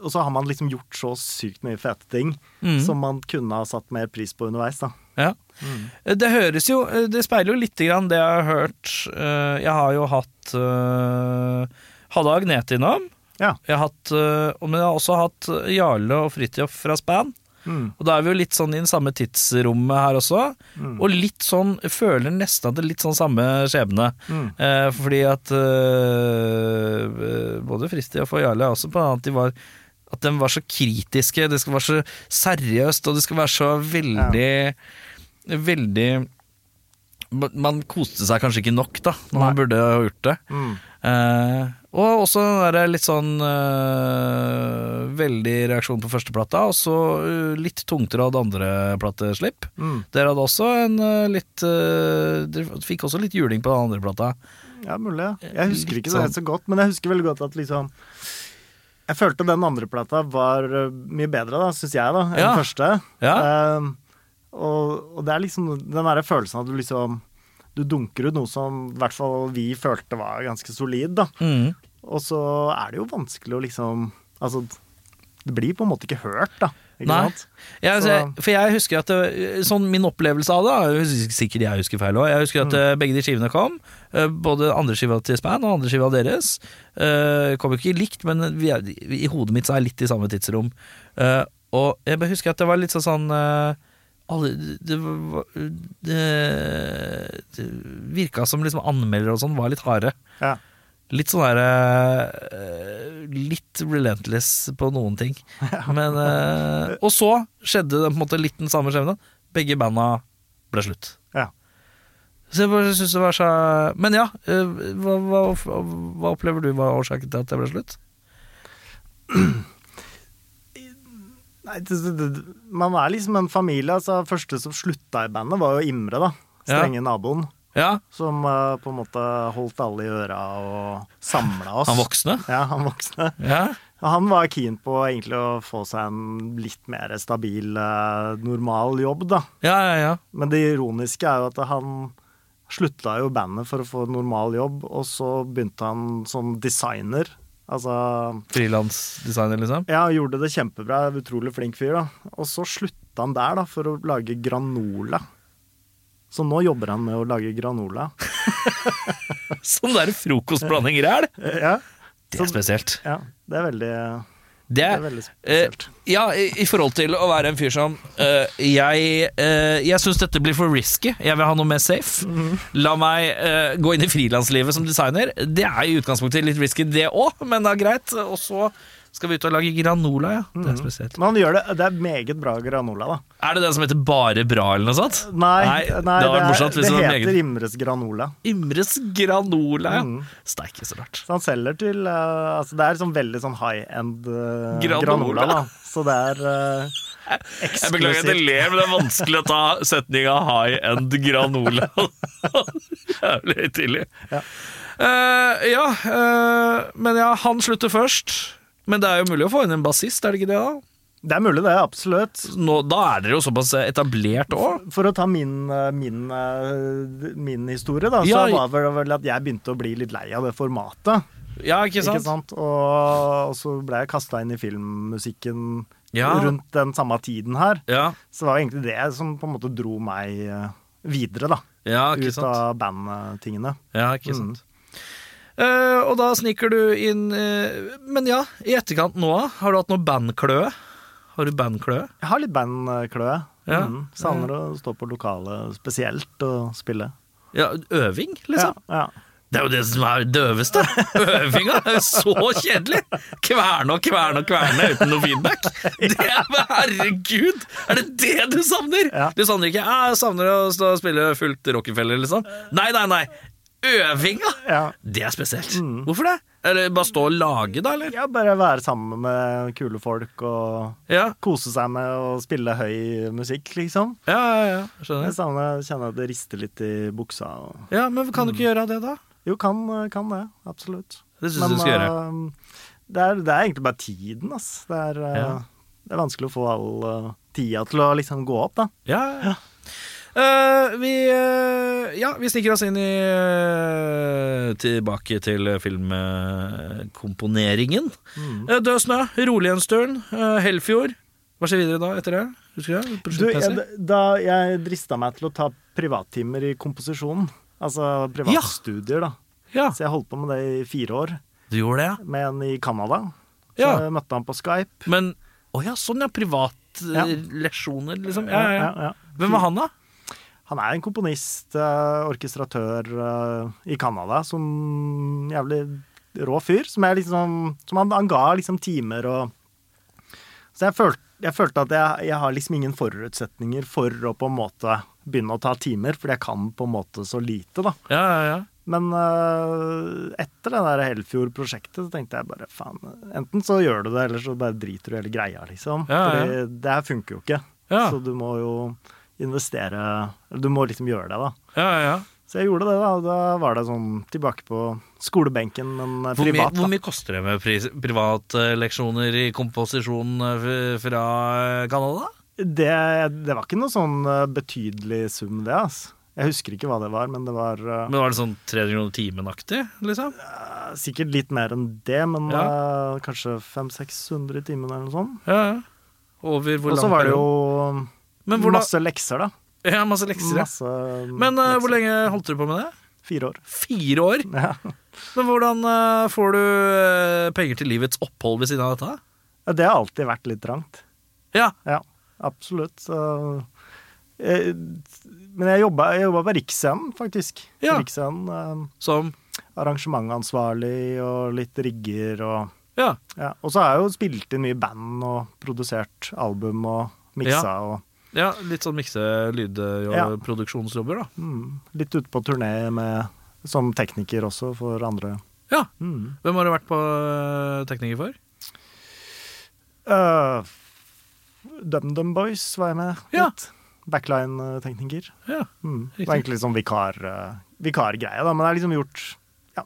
[SPEAKER 2] og så har man liksom gjort så sykt mye fete ting
[SPEAKER 1] Mhm.
[SPEAKER 2] som man kunne ha satt mer pris på underveis, da.
[SPEAKER 1] Ja.
[SPEAKER 2] Mm.
[SPEAKER 1] Eh, Det høres jo Det speiler jo lite grann det jeg har hørt. Eh, Jeg har jo hatt eh, Hadde Agnete innom.
[SPEAKER 2] Ja.
[SPEAKER 1] Jeg har hatt, eh, men jeg har også hatt Jarle og Fridtjof fra Span.
[SPEAKER 2] Mm.
[SPEAKER 1] Og da er vi jo litt sånn i den samme tidsrommet her også. Og litt sånn føler nesten at det er litt sånn samme skjebne.
[SPEAKER 2] Mm.
[SPEAKER 1] Eh, fordi at eh, både Fridtjof og Jarle er også på at de var at de var så kritiske, det skal være så seriøst, og det skal være så veldig Veldig Man koste seg kanskje ikke nok, da, når man burde ha gjort det.
[SPEAKER 2] Mm.
[SPEAKER 1] Eh, og også den der litt sånn eh, veldig reaksjon på første plata, og så eh, litt tungtrådd andre plateslipp.
[SPEAKER 2] Mm.
[SPEAKER 1] Dere hadde også en eh, litt eh, Dere fikk også litt juling på den andre plata.
[SPEAKER 2] Ja, mulig. ja. Jeg husker
[SPEAKER 1] Litt
[SPEAKER 2] ikke det
[SPEAKER 1] sånn.
[SPEAKER 2] så godt, men jeg husker veldig godt at liksom Jeg følte den andre plata var eh, mye bedre, da, syns jeg, da, enn
[SPEAKER 1] Ja.
[SPEAKER 2] den første.
[SPEAKER 1] Ja.
[SPEAKER 2] Eh, og, og det er liksom den derre følelsen at du liksom Du dunker ut noe som i hvert fall vi følte var ganske solid, da.
[SPEAKER 1] Mm.
[SPEAKER 2] Og så er det jo vanskelig å liksom Altså, det blir på en måte ikke hørt, da. Ikke
[SPEAKER 1] Nei.
[SPEAKER 2] sant?
[SPEAKER 1] Jeg,
[SPEAKER 2] Så-
[SPEAKER 1] altså, jeg- for jeg husker at det, Sånn min opplevelse av det da, Sikkert jeg husker feil også Jeg husker at eh, begge de skivene kom eh, Både andre skiva til Span og andre skiva deres Eh, Kom jo ikke likt Men vi er, i hodet mitt så er jeg litt i samme tidsrom Eh, Og jeg bare husker at det var litt sånn sånn eh, alle, det, var- det, det virka som liksom anmeldere og sånn var litt harde.
[SPEAKER 2] Ja.
[SPEAKER 1] Litt sånn derre Litt relentless på noen ting. Men, eh, og så skjedde det på en måte litt den samme skjebnen. Begge banda ble slutt.
[SPEAKER 2] Ja.
[SPEAKER 1] Så jeg bare synes det var så Men ja, eh, hva, hva, hva opplever du var årsaken til at det ble slutt?
[SPEAKER 2] Nei, det, det, det, man er liksom en familie. Altså, første som slutta i bandet, var jo Imre, da. Strenge naboen.
[SPEAKER 1] Ja,
[SPEAKER 2] Som eh, på en måte holdt alle i øra og samla oss.
[SPEAKER 1] Han voksne?
[SPEAKER 2] Ja, han voksne.
[SPEAKER 1] ja.
[SPEAKER 2] Han var keen på egentlig å få seg en litt mer stabil, eh, normal jobb, da.
[SPEAKER 1] Ja, ja, ja.
[SPEAKER 2] Men det ironiske er jo at han slutta jo i bandet for å få en normal jobb, og så begynte han som designer. Altså
[SPEAKER 1] Frilansdesigner, liksom.
[SPEAKER 2] Ja, han gjorde det kjempebra. Utrolig flink fyr, da. Og så slutta han der, da, for å lage granola. Så nå jobber han med å lage granola.
[SPEAKER 1] <laughs> Sånn der frokostblanding ræl!
[SPEAKER 2] Ja,
[SPEAKER 1] Det er spesielt.
[SPEAKER 2] ja det er veldig,
[SPEAKER 1] Det,
[SPEAKER 2] det er veldig spesielt.
[SPEAKER 1] Eh, ja, i, i forhold til å være en fyr som eh, Jeg, uh, jeg syns dette blir for risky. Jeg vil ha noe mer safe.
[SPEAKER 2] Mhm.
[SPEAKER 1] La meg eh, gå inn i frilanslivet som designer. Det er i utgangspunktet litt risky, det òg, men det er greit. Og så skal vi ut og lage granola, ja.
[SPEAKER 2] Mhm.
[SPEAKER 1] Det er spesielt.
[SPEAKER 2] Men han gjør det. Det er meget bra granola, da.
[SPEAKER 1] Er det den som heter Bare bra, eller noe sånt?
[SPEAKER 2] Nei, nei,
[SPEAKER 1] det hadde vært morsomt
[SPEAKER 2] det,
[SPEAKER 1] hvis det var
[SPEAKER 2] heter
[SPEAKER 1] meget
[SPEAKER 2] Imres granola.
[SPEAKER 1] Imres granola, ja.
[SPEAKER 2] Mm.
[SPEAKER 1] Steike, så rart.
[SPEAKER 2] Så han selger til eh, altså Det er sånn veldig sånn high end eh,
[SPEAKER 1] Granola.
[SPEAKER 2] granola. da. Så det er eh, eksklusivt.
[SPEAKER 1] <laughs> Jeg beklager at jeg ler, men det er vanskelig å ta setninga high end
[SPEAKER 2] <laughs>
[SPEAKER 1] granola. Jævlig tidlig.
[SPEAKER 2] Ja.
[SPEAKER 1] Eh, ja eh, men ja, han slutter først. Men det er jo mulig å få inn en bassist, er det ikke det? Da
[SPEAKER 2] Det er mulig, det. Absolutt.
[SPEAKER 1] Nå, Da er dere jo såpass etablert òg.
[SPEAKER 2] For å ta min, eh, min, eh, min historie, da,
[SPEAKER 1] Ja,
[SPEAKER 2] så var det vel at jeg begynte å bli litt lei av det formatet.
[SPEAKER 1] Ja, ikke sant?
[SPEAKER 2] Ikke sant? Og, og så ble jeg kasta inn i filmmusikken
[SPEAKER 1] Ja.
[SPEAKER 2] rundt den samme tiden her.
[SPEAKER 1] Ja,
[SPEAKER 2] Så det var egentlig det som på en måte dro meg eh, videre, da.
[SPEAKER 1] ja, ikke
[SPEAKER 2] Ut
[SPEAKER 1] sant?
[SPEAKER 2] av Mm. bandtingene.
[SPEAKER 1] Ja, ikke sant. Eh, og da sniker du inn eh, Men ja, i etterkant nå, da, har du hatt noe bandkløe? Har du bandkløe?
[SPEAKER 2] Jeg har litt bandkløe.
[SPEAKER 1] Ja.
[SPEAKER 2] Mm. Savner å stå på lokalet spesielt og spille.
[SPEAKER 1] Ja, øving, liksom?
[SPEAKER 2] Ja, ja.
[SPEAKER 1] Det er jo det som er det døveste. Øvinga er jo så kjedelig! Kverne og kverne og kverne uten noe feedback. Det er, herregud! Er det det du savner?
[SPEAKER 2] Ja.
[SPEAKER 1] Du savner ikke «Ah, 'jeg savner å stå og spille fullt Rockefeller', liksom? Nei, nei, nei. Øvinga!
[SPEAKER 2] ja. Mm.
[SPEAKER 1] Det er spesielt. Hvorfor det? Eller bare stå og lage, da, eller?
[SPEAKER 2] Ja, bare være sammen med kule folk og
[SPEAKER 1] Ja,
[SPEAKER 2] kose seg med å spille høy musikk, liksom.
[SPEAKER 1] ja, ja. ja.
[SPEAKER 2] Jeg
[SPEAKER 1] Skjønner.
[SPEAKER 2] savner, kjenner at det rister litt i buksa. Og...
[SPEAKER 1] Ja, men kan du ikke
[SPEAKER 2] Mm.
[SPEAKER 1] gjøre det, da?
[SPEAKER 2] Jo, kan, kan det. Absolutt.
[SPEAKER 1] Det synes jeg du skal gjøre.
[SPEAKER 2] eh, det, er, det er egentlig bare tiden, ass. Det er, eh,
[SPEAKER 1] Ja.
[SPEAKER 2] det er vanskelig å få all eh, tida til å liksom gå opp, da.
[SPEAKER 1] Ja, ja. Eh, vi, eh, ja, vi sniker oss inn i eh, Tilbake til filmkomponeringen. Eh, Død snø, Rolighetsturen, uh, Hellfjord. Hva skjer videre da etter det? Husker du?
[SPEAKER 2] Du, jeg,
[SPEAKER 1] Prosjektmessig?
[SPEAKER 2] da jeg drista meg til å ta privattimer i komposisjon, altså privatstudier, da.
[SPEAKER 1] Ja,
[SPEAKER 2] Så jeg holdt på med det i fire år,
[SPEAKER 1] du gjorde det, ja.
[SPEAKER 2] med en i Canada. Så
[SPEAKER 1] Ja.
[SPEAKER 2] jeg møtte han på Skype.
[SPEAKER 1] Men Å ja, sånn ja.
[SPEAKER 2] Ja.
[SPEAKER 1] Privatlesjoner, liksom. Ja, ja, ja.
[SPEAKER 2] ja.
[SPEAKER 1] Hvem var han, da?
[SPEAKER 2] Han er en komponist, eh, orkestratør eh, i Canada, som jævlig rå fyr. Som, jeg liksom, som han, han ga liksom timer og Så jeg følte, jeg følte at jeg, jeg har liksom ingen forutsetninger for å på en måte begynne å ta timer, fordi jeg kan på en måte så lite, da.
[SPEAKER 1] Ja, ja, ja.
[SPEAKER 2] Men eh, etter det der Hellfjord-prosjektet så tenkte jeg bare faen Enten så gjør du det, eller så bare driter du i hele greia, liksom.
[SPEAKER 1] Ja, ja.
[SPEAKER 2] Fordi det her funker jo ikke.
[SPEAKER 1] Ja.
[SPEAKER 2] Så du må jo investere eller Du må liksom gjøre det, da.
[SPEAKER 1] ja, ja.
[SPEAKER 2] Så jeg gjorde det, da. og Da var det sånn tilbake på skolebenken, men eh,
[SPEAKER 1] Hvor, mye,
[SPEAKER 2] privat.
[SPEAKER 1] hvor
[SPEAKER 2] da.
[SPEAKER 1] mye koster det med pris- privatleksjoner i komposisjon eh, f- fra Canada?
[SPEAKER 2] Det, det var ikke noe sånn eh, betydelig sum, det, altså. Jeg husker ikke hva det var, men det var eh,
[SPEAKER 1] Men var det sånn 300 kroner timen-aktig, liksom?
[SPEAKER 2] sikkert litt mer enn det. Men eh, kanskje 500-600 i timen eller noe sånt.
[SPEAKER 1] Ja, ja. Over hvor
[SPEAKER 2] Og så
[SPEAKER 1] lang
[SPEAKER 2] var det
[SPEAKER 1] periode?
[SPEAKER 2] jo
[SPEAKER 1] Men hvordan-
[SPEAKER 2] masse lekser, da.
[SPEAKER 1] Ja, masse lekser, ja.
[SPEAKER 2] Masse
[SPEAKER 1] Men eh, hvor
[SPEAKER 2] lekser.
[SPEAKER 1] lenge holdt dere på med det?
[SPEAKER 2] Fire år.
[SPEAKER 1] Fire år?
[SPEAKER 2] Ja.
[SPEAKER 1] Men hvordan eh, får du eh, penger til livets opphold ved siden av dette?
[SPEAKER 2] Ja, Det har alltid vært litt trangt.
[SPEAKER 1] Ja,
[SPEAKER 2] Ja, absolutt. Så, eh, men jeg jobba, jeg jobba på Riksscenen, faktisk.
[SPEAKER 1] Ja.
[SPEAKER 2] Riksscenen, eh,
[SPEAKER 1] som
[SPEAKER 2] Arrangementansvarlig og litt rigger og
[SPEAKER 1] Ja.
[SPEAKER 2] ja. Og så har jeg jo spilt inn mye band og produsert album og miksa og
[SPEAKER 1] ja litt sånn mikse
[SPEAKER 2] Ja.
[SPEAKER 1] lydproduksjonsjobber, da.
[SPEAKER 2] mm, litt ute på turné med, som tekniker også for andre.
[SPEAKER 1] Ja.
[SPEAKER 2] Mm.
[SPEAKER 1] Hvem har du vært på eh, tekniker for?
[SPEAKER 2] Eh, DumDum Boys var jeg med
[SPEAKER 1] Ja.
[SPEAKER 2] litt. Backline-tekniker.
[SPEAKER 1] Ja.
[SPEAKER 2] Mm. Det
[SPEAKER 1] Riktig.
[SPEAKER 2] var egentlig liksom vikar, eh, vikargreie, da. Men det er liksom gjort ja,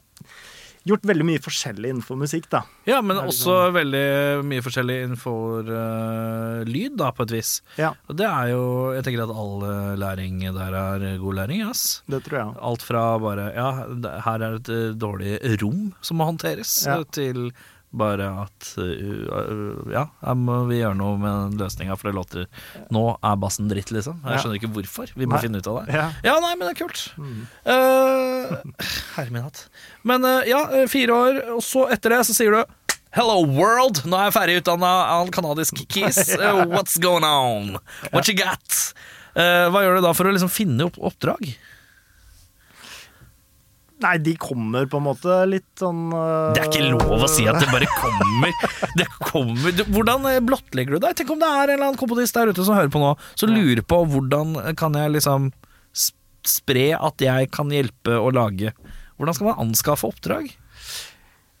[SPEAKER 2] Gjort veldig mye forskjellig innenfor musikk, da.
[SPEAKER 1] Ja, men
[SPEAKER 2] Det er
[SPEAKER 1] også veldig mye forskjellig innenfor eh, lyd, da, på et vis.
[SPEAKER 2] Ja,
[SPEAKER 1] Og det er jo Jeg tenker at all eh, læring der er god læring, ass.
[SPEAKER 2] det tror jeg.
[SPEAKER 1] Alt fra bare Ja, det- her er et eh, dårlig rom som må håndteres,
[SPEAKER 2] Ja.
[SPEAKER 1] eh, til bare at eh, Ja, her må vi gjøre noe med løsninga, for det låter Nå er bassen dritt, liksom. Jeg
[SPEAKER 2] Ja.
[SPEAKER 1] skjønner ikke hvorfor. Vi må
[SPEAKER 2] Nei.
[SPEAKER 1] finne ut av det.
[SPEAKER 2] Ja.
[SPEAKER 1] Ja, nei, men det er kult. Eh, herre min hatt. Men eh, ja, eh, fire år, og så etter det så sier du Hello world, nå er jeg ferdig utdanna av canadisk kis. Eh, what's going on? What you got? Eh, hva gjør du da for å liksom finne opp oppdrag?
[SPEAKER 2] Nei, de kommer på en måte litt sånn eh,
[SPEAKER 1] Det er ikke lov å si at det bare kommer. Det kommer. Du, hvordan eh, blottlegger du deg? Tenk om det er en eller annen komponist der ute som hører på nå, som lurer på hvordan kan jeg liksom s- spre at jeg kan hjelpe å lage Hvordan skal man anskaffe oppdrag?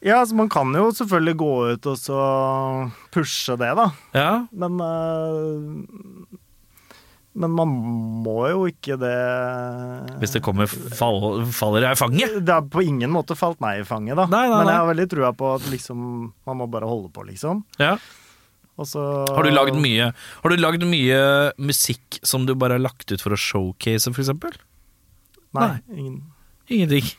[SPEAKER 2] Ja, altså man kan jo selvfølgelig gå ut og så pushe det, da.
[SPEAKER 1] Ja,
[SPEAKER 2] Men eh, Men man må jo ikke det
[SPEAKER 1] Hvis det kommer, fall, faller jeg i fanget.
[SPEAKER 2] Det har på ingen måte falt meg i fanget, da.
[SPEAKER 1] Nei, nei,
[SPEAKER 2] Men
[SPEAKER 1] nei.
[SPEAKER 2] jeg har veldig trua på at liksom man må bare holde på, liksom. Og så
[SPEAKER 1] Har du lagd mye Har du lagd mye musikk som du bare har lagt ut for å showcase, for eksempel?
[SPEAKER 2] Nei.
[SPEAKER 1] Nei.
[SPEAKER 2] Ingen.
[SPEAKER 1] Ingenting.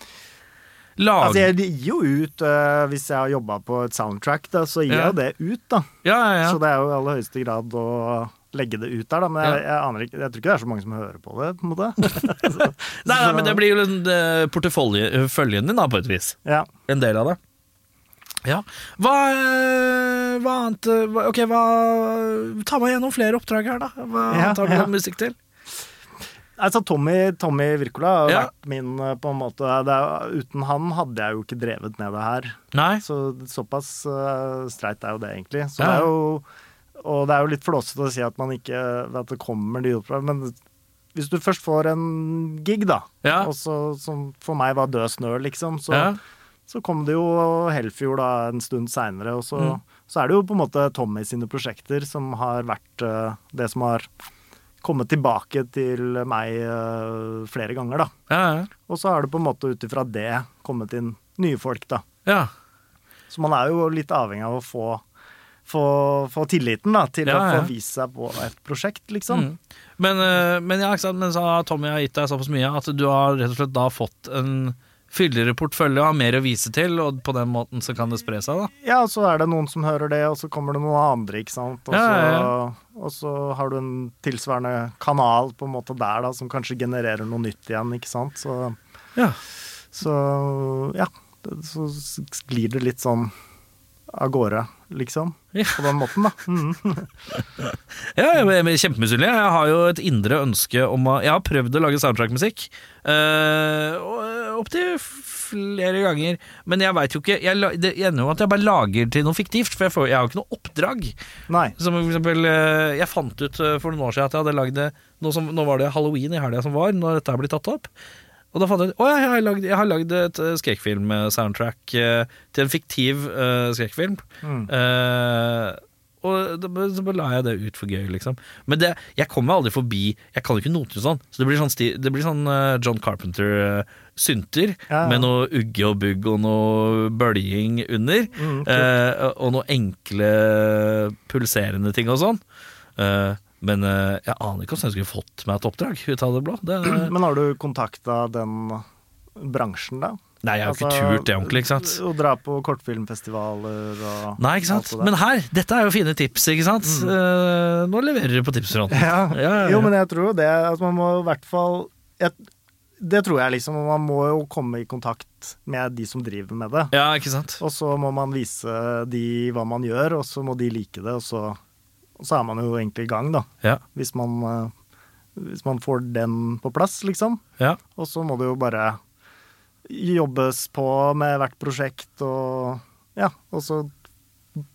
[SPEAKER 1] Lag
[SPEAKER 2] Altså, jeg gir jo ut eh, Hvis jeg har jobba på et soundtrack, da, så gir
[SPEAKER 1] Ja.
[SPEAKER 2] jeg jo det ut, da.
[SPEAKER 1] Ja, ja, ja.
[SPEAKER 2] Så det er jo i aller høyeste grad å legge det ut der, da. Men jeg, jeg aner ikke Jeg tror ikke det er så mange som hører på det, på en måte. <laughs>
[SPEAKER 1] Nei, nei, men det blir jo liksom eh, porteføljen din, da, på et vis.
[SPEAKER 2] Ja.
[SPEAKER 1] En del av det. Ja. Hva, eh, hva annet eh, hva, Ok, hva Ta meg gjennom flere oppdrag her, da. Hva
[SPEAKER 2] Ja,
[SPEAKER 1] annet har du
[SPEAKER 2] ja.
[SPEAKER 1] lagd musikk til?
[SPEAKER 2] Altså, Tommy, Tommy Wirkola har jo
[SPEAKER 1] Ja.
[SPEAKER 2] vært min eh, på en måte det er, Uten han hadde jeg jo ikke drevet med det her.
[SPEAKER 1] Nei?
[SPEAKER 2] Så Såpass eh, streit er jo det, egentlig. Så
[SPEAKER 1] Ja.
[SPEAKER 2] det er jo, og det er jo litt flåsete å si at man ikke at det kommer nye oppdrag, men hvis du først får en gig, da,
[SPEAKER 1] Ja.
[SPEAKER 2] og så, som for meg var død snø, liksom, så,
[SPEAKER 1] Ja.
[SPEAKER 2] så kom det jo Hellfjord da en stund seinere, og så,
[SPEAKER 1] Mm.
[SPEAKER 2] så er det jo på en måte Tommy sine prosjekter som har vært eh, det som har kommet tilbake til meg eh, flere ganger, da.
[SPEAKER 1] Ja,
[SPEAKER 2] Og så har det på en måte ut ifra det kommet inn nye folk, da.
[SPEAKER 1] ja. ja.
[SPEAKER 2] Så man er jo litt avhengig av å få, få, få tilliten da, til
[SPEAKER 1] Ja,
[SPEAKER 2] å
[SPEAKER 1] ja. Mm.
[SPEAKER 2] få vise seg på et prosjekt, liksom.
[SPEAKER 1] Men, eh, men, ja, ikke sant? men så har Tommy har gitt deg såpass mye at du har rett og slett da fått en fyldigere portfølje og har mer å vise til, og på den måten så kan det spre seg, da.
[SPEAKER 2] Ja, og så er det noen som hører det, og så kommer det noen andre, ikke sant. Og så,
[SPEAKER 1] Ja, ja,
[SPEAKER 2] og så har du en tilsvarende kanal på en måte der, da, som kanskje genererer noe nytt igjen, ikke sant. Så,
[SPEAKER 1] Ja.
[SPEAKER 2] så ja, det- så sklir det litt sånn av gårde, liksom.
[SPEAKER 1] Ja.
[SPEAKER 2] På den måten, da. Mhm.
[SPEAKER 1] jeg er Kjempemisunnelig. Jeg har jo et indre ønske om å Jeg har prøvd å lage soundtrackmusikk eh, opptil flere ganger, men jeg veit jo ikke jeg, la- Det ender jo at jeg bare lager til noe fiktivt, for jeg, får, jeg har jo ikke noe oppdrag.
[SPEAKER 2] Nei.
[SPEAKER 1] Som for eksempel, eh, jeg fant ut eh, for noen år siden at jeg hadde lagd det nå, som, nå var det halloween i helga som var, når dette her ble tatt opp. Og da fant jeg ut at jeg har lagd- jeg har lagd et eh, skrekkfilm-soundtrack eh, til en fiktiv eh, skrekkfilm.
[SPEAKER 2] Mm.
[SPEAKER 1] Eh, og da, så bare la jeg det ut for gøy, liksom. Men det, jeg kommer aldri forbi Jeg kan jo ikke noter og sånn. Så det blir sånn, sti, det blir sånn eh, John Carpenter-synter
[SPEAKER 2] Ja, ja.
[SPEAKER 1] med noe ugge og bugg og noe bøljing under.
[SPEAKER 2] Mm, kult.
[SPEAKER 1] Eh, og noen enkle pulserende ting og sånn. Eh, men eh, jeg aner ikke hvordan jeg skulle fått meg et oppdrag ut av det blå.
[SPEAKER 2] <clears throat>
[SPEAKER 1] Det,
[SPEAKER 2] Men har du kontakta den bransjen, da?
[SPEAKER 1] nei, jeg har jo ikke
[SPEAKER 2] Altså,
[SPEAKER 1] turt det ordentlig, ikke sant.
[SPEAKER 2] Å dra på kortfilmfestivaler og
[SPEAKER 1] Nei, ikke sant.
[SPEAKER 2] alt altså, det Mm. der.
[SPEAKER 1] Men her, dette er jo fine tips, ikke sant. Eh, nå leverer du på tipsfronten.
[SPEAKER 2] <laughs> <laughs> ja.
[SPEAKER 1] Ja, ja, ja.
[SPEAKER 2] Jo, men jeg tror jo det at man må i hvert fall jeg, Det tror jeg liksom. Man må jo komme i kontakt med de som driver med det.
[SPEAKER 1] Ja, ikke sant?
[SPEAKER 2] Og så må man vise de hva man gjør, og så må de like det, og så, og så er man jo egentlig i gang, da.
[SPEAKER 1] Ja,
[SPEAKER 2] Hvis man, eh, hvis man får den på plass, liksom.
[SPEAKER 1] ja.
[SPEAKER 2] Og så må det jo bare jobbes på med hvert prosjekt, og ja, og så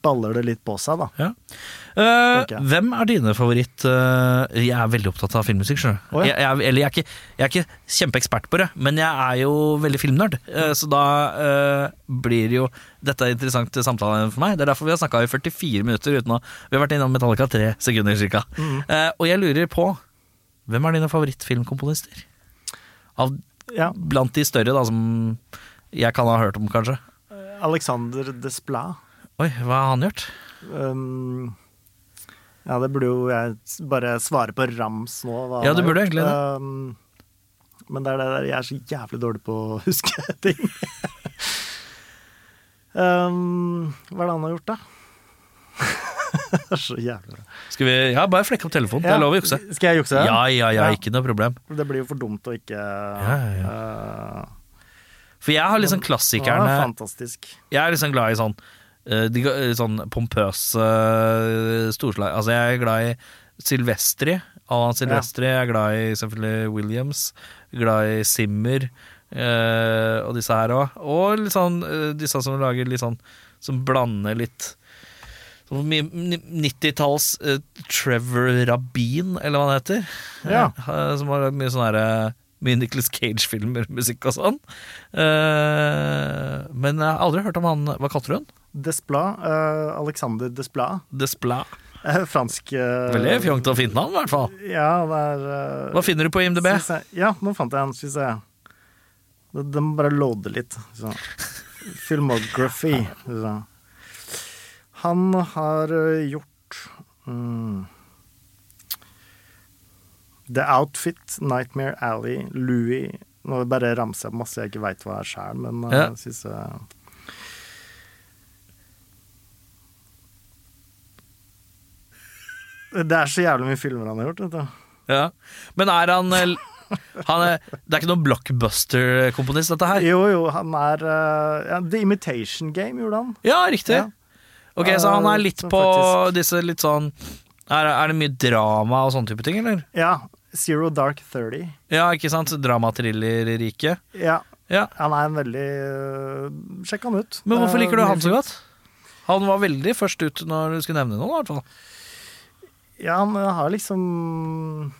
[SPEAKER 2] baller det litt på seg, da.
[SPEAKER 1] ja. Eh,
[SPEAKER 2] Tenker jeg.
[SPEAKER 1] hvem er dine favoritt eh, Jeg er veldig opptatt av filmmusikk, skjønner du.
[SPEAKER 2] Å, ja.
[SPEAKER 1] jeg, jeg, eller jeg er, ikke, jeg er ikke kjempeekspert på det, men jeg er jo veldig filmnerd. eh, så da eh, blir jo dette er interessant samtale for meg. Det er derfor vi har snakka i
[SPEAKER 2] Mm.
[SPEAKER 1] 44 minutter uten å Vi har vært innom Metallica tre sekunder, cirka. Eh, og jeg lurer på Hvem er dine favorittfilmkomponister? Av,
[SPEAKER 2] Ja,
[SPEAKER 1] blant de større, da, som jeg kan ha hørt om, kanskje.
[SPEAKER 2] Alexander Desplat.
[SPEAKER 1] Oi, hva har han gjort?
[SPEAKER 2] Um, ja, det burde jo jeg s- bare svare på rams nå. hva
[SPEAKER 1] Ja, du
[SPEAKER 2] han har
[SPEAKER 1] burde
[SPEAKER 2] gjort.
[SPEAKER 1] egentlig det.
[SPEAKER 2] Um, men det er det der jeg er så jævlig dårlig på å huske <laughs> ting. um, hva er det han har gjort, da? <laughs> det er så jævlig bra.
[SPEAKER 1] Skal vi Ja, bare flekke opp telefonen. Det
[SPEAKER 2] Ja,
[SPEAKER 1] er lov å jukse.
[SPEAKER 2] Skal jeg jukse?
[SPEAKER 1] Ja, ja, ja, ikke noe problem.
[SPEAKER 2] Det blir jo for dumt å ikke
[SPEAKER 1] ja,
[SPEAKER 2] Uh,
[SPEAKER 1] For jeg har liksom
[SPEAKER 2] Han er
[SPEAKER 1] klassikerne
[SPEAKER 2] fantastisk.
[SPEAKER 1] Jeg er liksom glad i sånn eh, de, ga- Sånn pompøse eh, storslag Altså jeg er glad i Silvestri Alan Silvestri Jeg er glad i selvfølgelig Williams Glad i Simmer eh, Og disse her også Og litt sånn, eh, disse som lager litt sånn Som blander litt sånn mye 90-talls eh, Trevor Rabin Eller hva han heter
[SPEAKER 2] Ja.
[SPEAKER 1] Eh, Som har lagd mye sånn her eh, Mye Nicolas Cage-filmer, <laughs> musikk og sånn Eh, men jeg har aldri hørt om han Hva kalte du han?
[SPEAKER 2] Desplat, eh, Alexander Desplat.
[SPEAKER 1] Desplat.
[SPEAKER 2] Eh, fransk eh,
[SPEAKER 1] Veldig fjongt og fint navn, i hvert fall.
[SPEAKER 2] Ja, det er eh,
[SPEAKER 1] Hva finner du på IMDb?
[SPEAKER 2] Synes jeg- Ja, nå fant jeg han, syns jeg. Det, det må bare loade litt. Så. Filmography. Så. Han har eh, gjort mm, The Outfit, Nightmare Alley, Louis Nå bare ramser jeg opp masse jeg ikke veit hva er sjæl, men eh,
[SPEAKER 1] Ja.
[SPEAKER 2] jeg synes jeg Det er så jævlig mye filmer han har gjort, vet du.
[SPEAKER 1] Ja. Men er han eh, han er, Det er ikke noen blockbuster-komponist, dette her?
[SPEAKER 2] Jo, jo, han er eh, ja, The Imitation Game gjorde han.
[SPEAKER 1] Ja, riktig.
[SPEAKER 2] Ja. Eh,
[SPEAKER 1] Ok, Så han er litt
[SPEAKER 2] Så
[SPEAKER 1] på
[SPEAKER 2] faktisk-
[SPEAKER 1] disse litt sånn er, er det mye drama og sånne type ting, eller?
[SPEAKER 2] Ja, Zero Dark 30.
[SPEAKER 1] Ja, ikke sant? Drama-thriller-rike.
[SPEAKER 2] Ja,
[SPEAKER 1] Ja.
[SPEAKER 2] han er en veldig eh, Sjekk han ut.
[SPEAKER 1] Men hvorfor
[SPEAKER 2] Eh,
[SPEAKER 1] liker du han så
[SPEAKER 2] mye-
[SPEAKER 1] godt? Han var veldig først ut når du skulle nevne noen, i hvert fall.
[SPEAKER 2] Ja, han eh, har liksom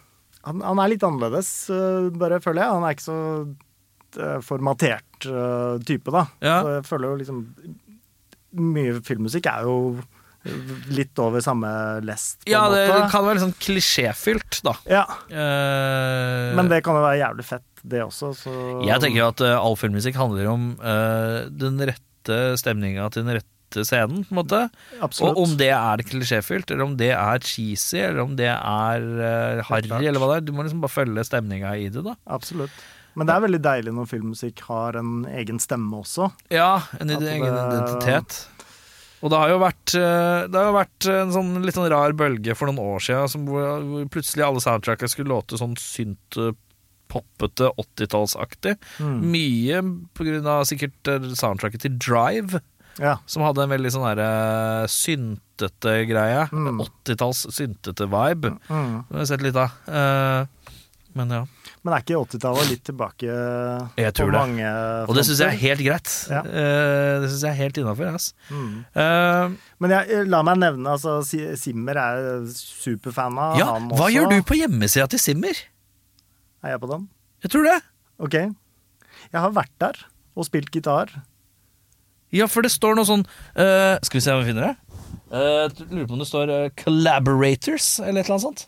[SPEAKER 2] Han, han er litt annerledes, eh, bare føler jeg. Han er ikke så eh, formatert eh, type, da.
[SPEAKER 1] Ja.
[SPEAKER 2] Så jeg føler jo liksom Mye filmmusikk er jo eh, litt over samme lest, på
[SPEAKER 1] Ja,
[SPEAKER 2] en
[SPEAKER 1] det
[SPEAKER 2] måte.
[SPEAKER 1] kan være litt sånn klisjéfylt, da.
[SPEAKER 2] Ja,
[SPEAKER 1] Eh,
[SPEAKER 2] men det kan jo være jævlig fett, det også. Så
[SPEAKER 1] Jeg tenker jo at eh, all filmmusikk handler om eh, den rette stemninga til den rette scenen, på en måte.
[SPEAKER 2] Absolutt.
[SPEAKER 1] Og om det er klisjéfylt, eller om det er cheesy, eller om det er uh, harry,
[SPEAKER 2] klart.
[SPEAKER 1] eller hva det er. Du må liksom bare følge stemninga i det, da.
[SPEAKER 2] Absolutt. Men det er veldig deilig når filmmusikk har en egen stemme også.
[SPEAKER 1] Ja, en
[SPEAKER 2] At
[SPEAKER 1] ide-
[SPEAKER 2] det-
[SPEAKER 1] egen identitet. Og det har jo vært, eh, det har jo vært en sånn litt sånn rar bølge for noen år siden som, hvor hvor plutselig alle soundtracka skulle låte sånn synt eh, poppete 80-tallsaktig.
[SPEAKER 2] Mm.
[SPEAKER 1] Mye på grunn av sikkert eh, soundtracket til Drive,
[SPEAKER 2] Ja,
[SPEAKER 1] som hadde en veldig sånn derre syntete greie.
[SPEAKER 2] Mm.
[SPEAKER 1] 80-talls syntete vibe.
[SPEAKER 2] mm.
[SPEAKER 1] Det har jeg sett litt av. Eh, men ja.
[SPEAKER 2] Men er ikke 80-tallet litt tilbake
[SPEAKER 1] Jeg tror
[SPEAKER 2] på
[SPEAKER 1] det.
[SPEAKER 2] mange
[SPEAKER 1] Og det syns jeg er helt greit.
[SPEAKER 2] Ja.
[SPEAKER 1] Eh, det syns jeg er helt innafor. Ass.
[SPEAKER 2] Mm.
[SPEAKER 1] Eh,
[SPEAKER 2] Men jeg, la meg nevne, altså Si- Simmer er superfan av
[SPEAKER 1] ja,
[SPEAKER 2] han også.
[SPEAKER 1] hva gjør du på hjemmesida til Simmer?
[SPEAKER 2] Er jeg på den?
[SPEAKER 1] Jeg tror det.
[SPEAKER 2] Ok. Jeg har vært der og spilt gitar.
[SPEAKER 1] Ja, for det står noe sånn eh, Skal vi se om vi finner det? Eh, jeg lurer på om det står eh, 'Collaborators' eller et eller annet sånt.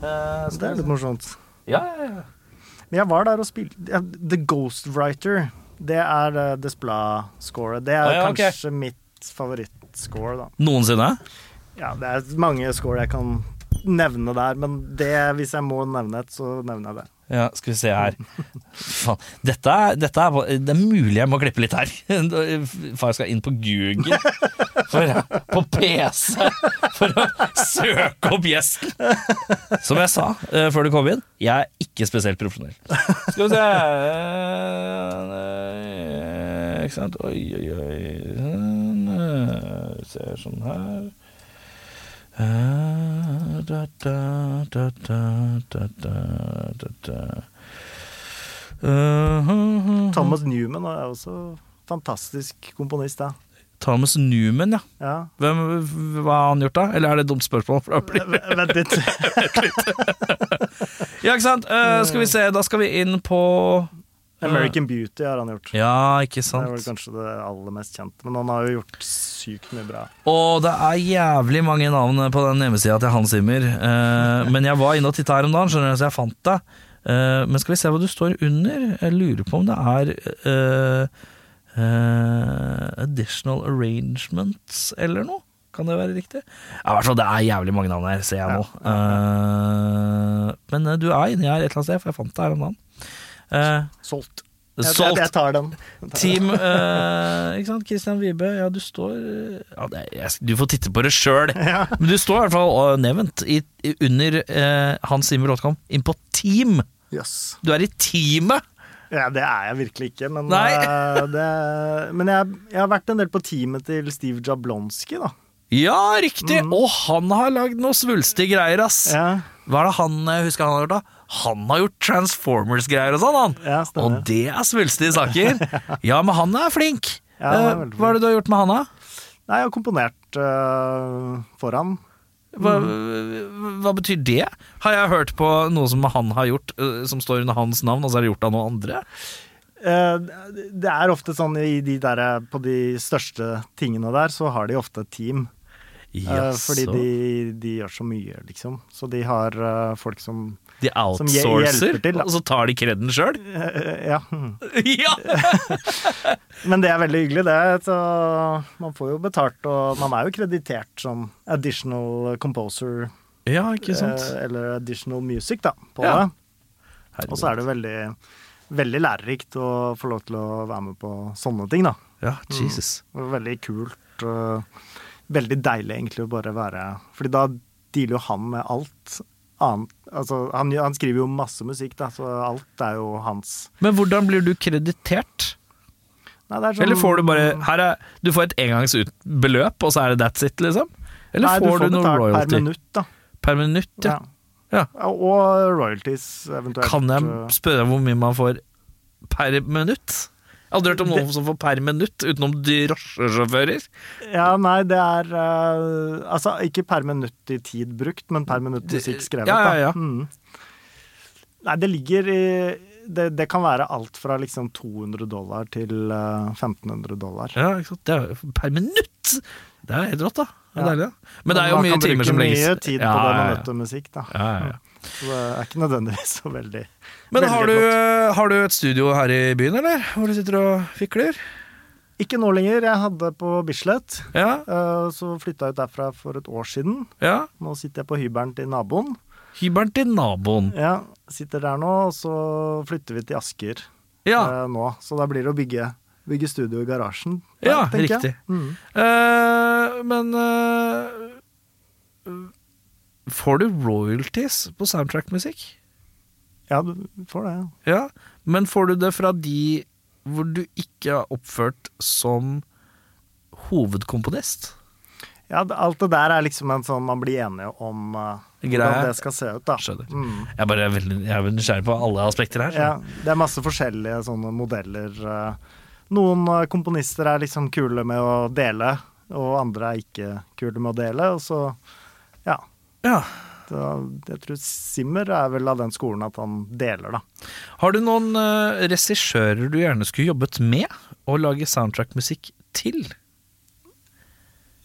[SPEAKER 1] Eh,
[SPEAKER 2] Så det er litt morsomt.
[SPEAKER 1] Ja, ja, ja.
[SPEAKER 2] Men jeg var der og spilte ja, The Ghostwriter. Det er uh, Desplat-scoret. Det er
[SPEAKER 1] Å ja, ok.
[SPEAKER 2] kanskje mitt favorittscore, da.
[SPEAKER 1] Noensinne?
[SPEAKER 2] Ja, det er mange score jeg kan nevne der, men det, hvis jeg må nevne et, så nevner jeg det.
[SPEAKER 1] Ja, skal vi se her. Faen. Dette, er- dette er, det er mulig jeg må klippe litt her. <laughs> Faen, jeg skal inn på Google, for, på PC, for å søke opp gjesten. Som jeg sa eh, før du kom inn, jeg er ikke spesielt profesjonell. Skal vi se eh, Ikke sant. Oi, oi, oi. Vi ser sånn her. Eh, da, da, da, da, da, da, da, da. Eh, hm, hm.
[SPEAKER 2] Thomas Newman er også fantastisk komponist, da.
[SPEAKER 1] Thomas Newman, ja.
[SPEAKER 2] Ja.
[SPEAKER 1] Hvem, hva har han gjort, da? Eller er det et dumt spørsmål? For da blir-
[SPEAKER 2] V- Vent litt.
[SPEAKER 1] Ja, ikke sant? Eh, skal vi se, da skal vi inn på
[SPEAKER 2] American Beauty har han gjort.
[SPEAKER 1] Ja, ikke
[SPEAKER 2] Det er vel
[SPEAKER 1] sant.
[SPEAKER 2] kanskje det aller mest kjente. Men han har jo gjort sykt mye bra.
[SPEAKER 1] Og det er jævlig mange navn eh, på den hjemmesida til Hans Zimmer. Eh, men jeg var inne og titta her om dagen, skjønner du, så jeg fant det. Eh, men skal vi se hva du står under? Jeg lurer på om det er eh, eh, Additional Arrangements eller noe? Kan det være riktig? Ja, i hvert fall det er jævlig mange navn her, ser jeg nå. Eh, men eh, du er inni her et eller annet sted, for jeg fant det her om dagen. Eh,
[SPEAKER 2] Solgt. Jeg, jeg,
[SPEAKER 1] Salt
[SPEAKER 2] jeg tar den. <laughs>
[SPEAKER 1] Team eh, Ikke sant, Christian Vibe. Ja, du står eh, ja, det, er- jeg, Du får titte på det
[SPEAKER 2] <laughs>
[SPEAKER 1] sjøl. Men du står i hvert fall eh, nevnt i, i, under eh, hansimmer.com inn på Team.
[SPEAKER 2] Jøss.
[SPEAKER 1] Du er i teamet!
[SPEAKER 2] Ja, det er jeg virkelig ikke, men,
[SPEAKER 1] Nei.
[SPEAKER 2] eh, det, men jeg, jeg har vært en del på teamet til Steve Jablonski, da.
[SPEAKER 1] Ja, riktig! Og han har lagd noe svulstige greier, ass.
[SPEAKER 2] Mm. Ja,
[SPEAKER 1] Hva er det han eh, husker han har gjort, da? Han har gjort Transformers-greier og sånn, han.
[SPEAKER 2] Ja, stemmer.
[SPEAKER 1] og det er svulstige saker.
[SPEAKER 2] <laughs>
[SPEAKER 1] ja, men han er flink.
[SPEAKER 2] Ja, han er
[SPEAKER 1] Eh,
[SPEAKER 2] veldig
[SPEAKER 1] Hva er det du har gjort med han, da?
[SPEAKER 2] Nei, jeg har komponert eh, for han.
[SPEAKER 1] Hva,
[SPEAKER 2] Mm.
[SPEAKER 1] hva betyr det? Har jeg hørt på noe som han har gjort, øh, som står under hans navn, og så er det gjort av noen andre?
[SPEAKER 2] Eh, det er ofte sånn i de der, på de største tingene der, så har de ofte et team. Eh, fordi
[SPEAKER 1] Jaså.
[SPEAKER 2] de, de gjør så mye, liksom. Så de har eh, folk som <laughs>
[SPEAKER 1] de
[SPEAKER 2] som hje-
[SPEAKER 1] outsourcer,
[SPEAKER 2] hjelper til, da.
[SPEAKER 1] og så tar de kreden sjøl?
[SPEAKER 2] eh, Ja. hm.
[SPEAKER 1] <laughs> ja!
[SPEAKER 2] Men det er veldig hyggelig, det. Så man får jo betalt, og man er jo kreditert som additional composer
[SPEAKER 1] ja, ikke sant.
[SPEAKER 2] eh, eller additional music, da, på
[SPEAKER 1] Ja.
[SPEAKER 2] det. Og så er det veldig, veldig lærerikt å få lov til å være med på sånne ting, da.
[SPEAKER 1] Ja,
[SPEAKER 2] Mm.
[SPEAKER 1] Jesus.
[SPEAKER 2] Det var Veldig kult. Og veldig deilig egentlig å bare være Fordi da dealer jo han med alt annet. Altså, han, han skriver jo masse musikk, da, så alt er jo hans.
[SPEAKER 1] Men hvordan blir du kreditert?
[SPEAKER 2] Nei, det er sånn-
[SPEAKER 1] Eller får du bare her er, Du får et engangsbeløp, og så er det that's it, liksom? Eller
[SPEAKER 2] Nei,
[SPEAKER 1] får du, noe
[SPEAKER 2] betalt
[SPEAKER 1] royalty?
[SPEAKER 2] Per minutt, da.
[SPEAKER 1] Per minutt, ja. Ja.
[SPEAKER 2] Og royalties, eventuelt. eh,
[SPEAKER 1] Kan jeg spørre hvor mye man får per minutt? Jeg har aldri hørt om noen som får per minutt, utenom drosjesjåfører.
[SPEAKER 2] Ja, nei, det er eh, Altså, ikke per minutt i tid brukt, men per minutt musikk skrevet,
[SPEAKER 1] ja, ja, ja.
[SPEAKER 2] da. Mm. Nei, det ligger i det, det kan være alt fra liksom 200 dollar til eh, 1500 dollar.
[SPEAKER 1] Ja, ikke sant? Det er jo per minutt! Det er helt rått, da. Det er
[SPEAKER 2] Ja.
[SPEAKER 1] deilig, da. Men det er jo mye timer som legges
[SPEAKER 2] Man kan bruke mye tid på
[SPEAKER 1] Ja,
[SPEAKER 2] det
[SPEAKER 1] ja, ja.
[SPEAKER 2] minuttet musikk, da.
[SPEAKER 1] Ja, ja, ja.
[SPEAKER 2] Så det er ikke nødvendigvis så veldig
[SPEAKER 1] Men har
[SPEAKER 2] veldig
[SPEAKER 1] du, eh,
[SPEAKER 2] flott.
[SPEAKER 1] har du et studio her i byen, eller? Hvor du sitter og fikler?
[SPEAKER 2] Ikke nå lenger. Jeg hadde på Bislett.
[SPEAKER 1] Ja,
[SPEAKER 2] eh, Så flytta jeg ut derfra for et år siden.
[SPEAKER 1] ja.
[SPEAKER 2] Nå sitter jeg på hybelen til naboen.
[SPEAKER 1] Hybelen til naboen.
[SPEAKER 2] Ja, Sitter der nå, og så flytter vi til Asker.
[SPEAKER 1] Ja,
[SPEAKER 2] eh, nå. Så da blir det å bygge, bygge studio i garasjen. der,
[SPEAKER 1] ja
[SPEAKER 2] tenker jeg.
[SPEAKER 1] riktig.
[SPEAKER 2] Mm.
[SPEAKER 1] Eh, men eh, Får du royalties på soundtrack-musikk?
[SPEAKER 2] Ja, du får det. ja.
[SPEAKER 1] Ja, men får du det fra de hvor du ikke er oppført som hovedkomponist?
[SPEAKER 2] Ja, det- alt det der er liksom en sånn man blir enige om eh,
[SPEAKER 1] Greie.
[SPEAKER 2] hvordan det skal se ut, da.
[SPEAKER 1] Skjønner.
[SPEAKER 2] Mm.
[SPEAKER 1] Jeg, bare er veldig, jeg er veldig nysgjerrig på alle aspekter her.
[SPEAKER 2] Ja, det er masse forskjellige sånne modeller. eh. Noen eh, komponister er liksom kule med å dele, og andre er ikke kule med å dele. Og så, ja.
[SPEAKER 1] Ja.
[SPEAKER 2] Da, jeg tror Simmer er vel av den skolen at han deler, da.
[SPEAKER 1] Har du noen eh, regissører du gjerne skulle jobbet med og lage soundtrackmusikk til?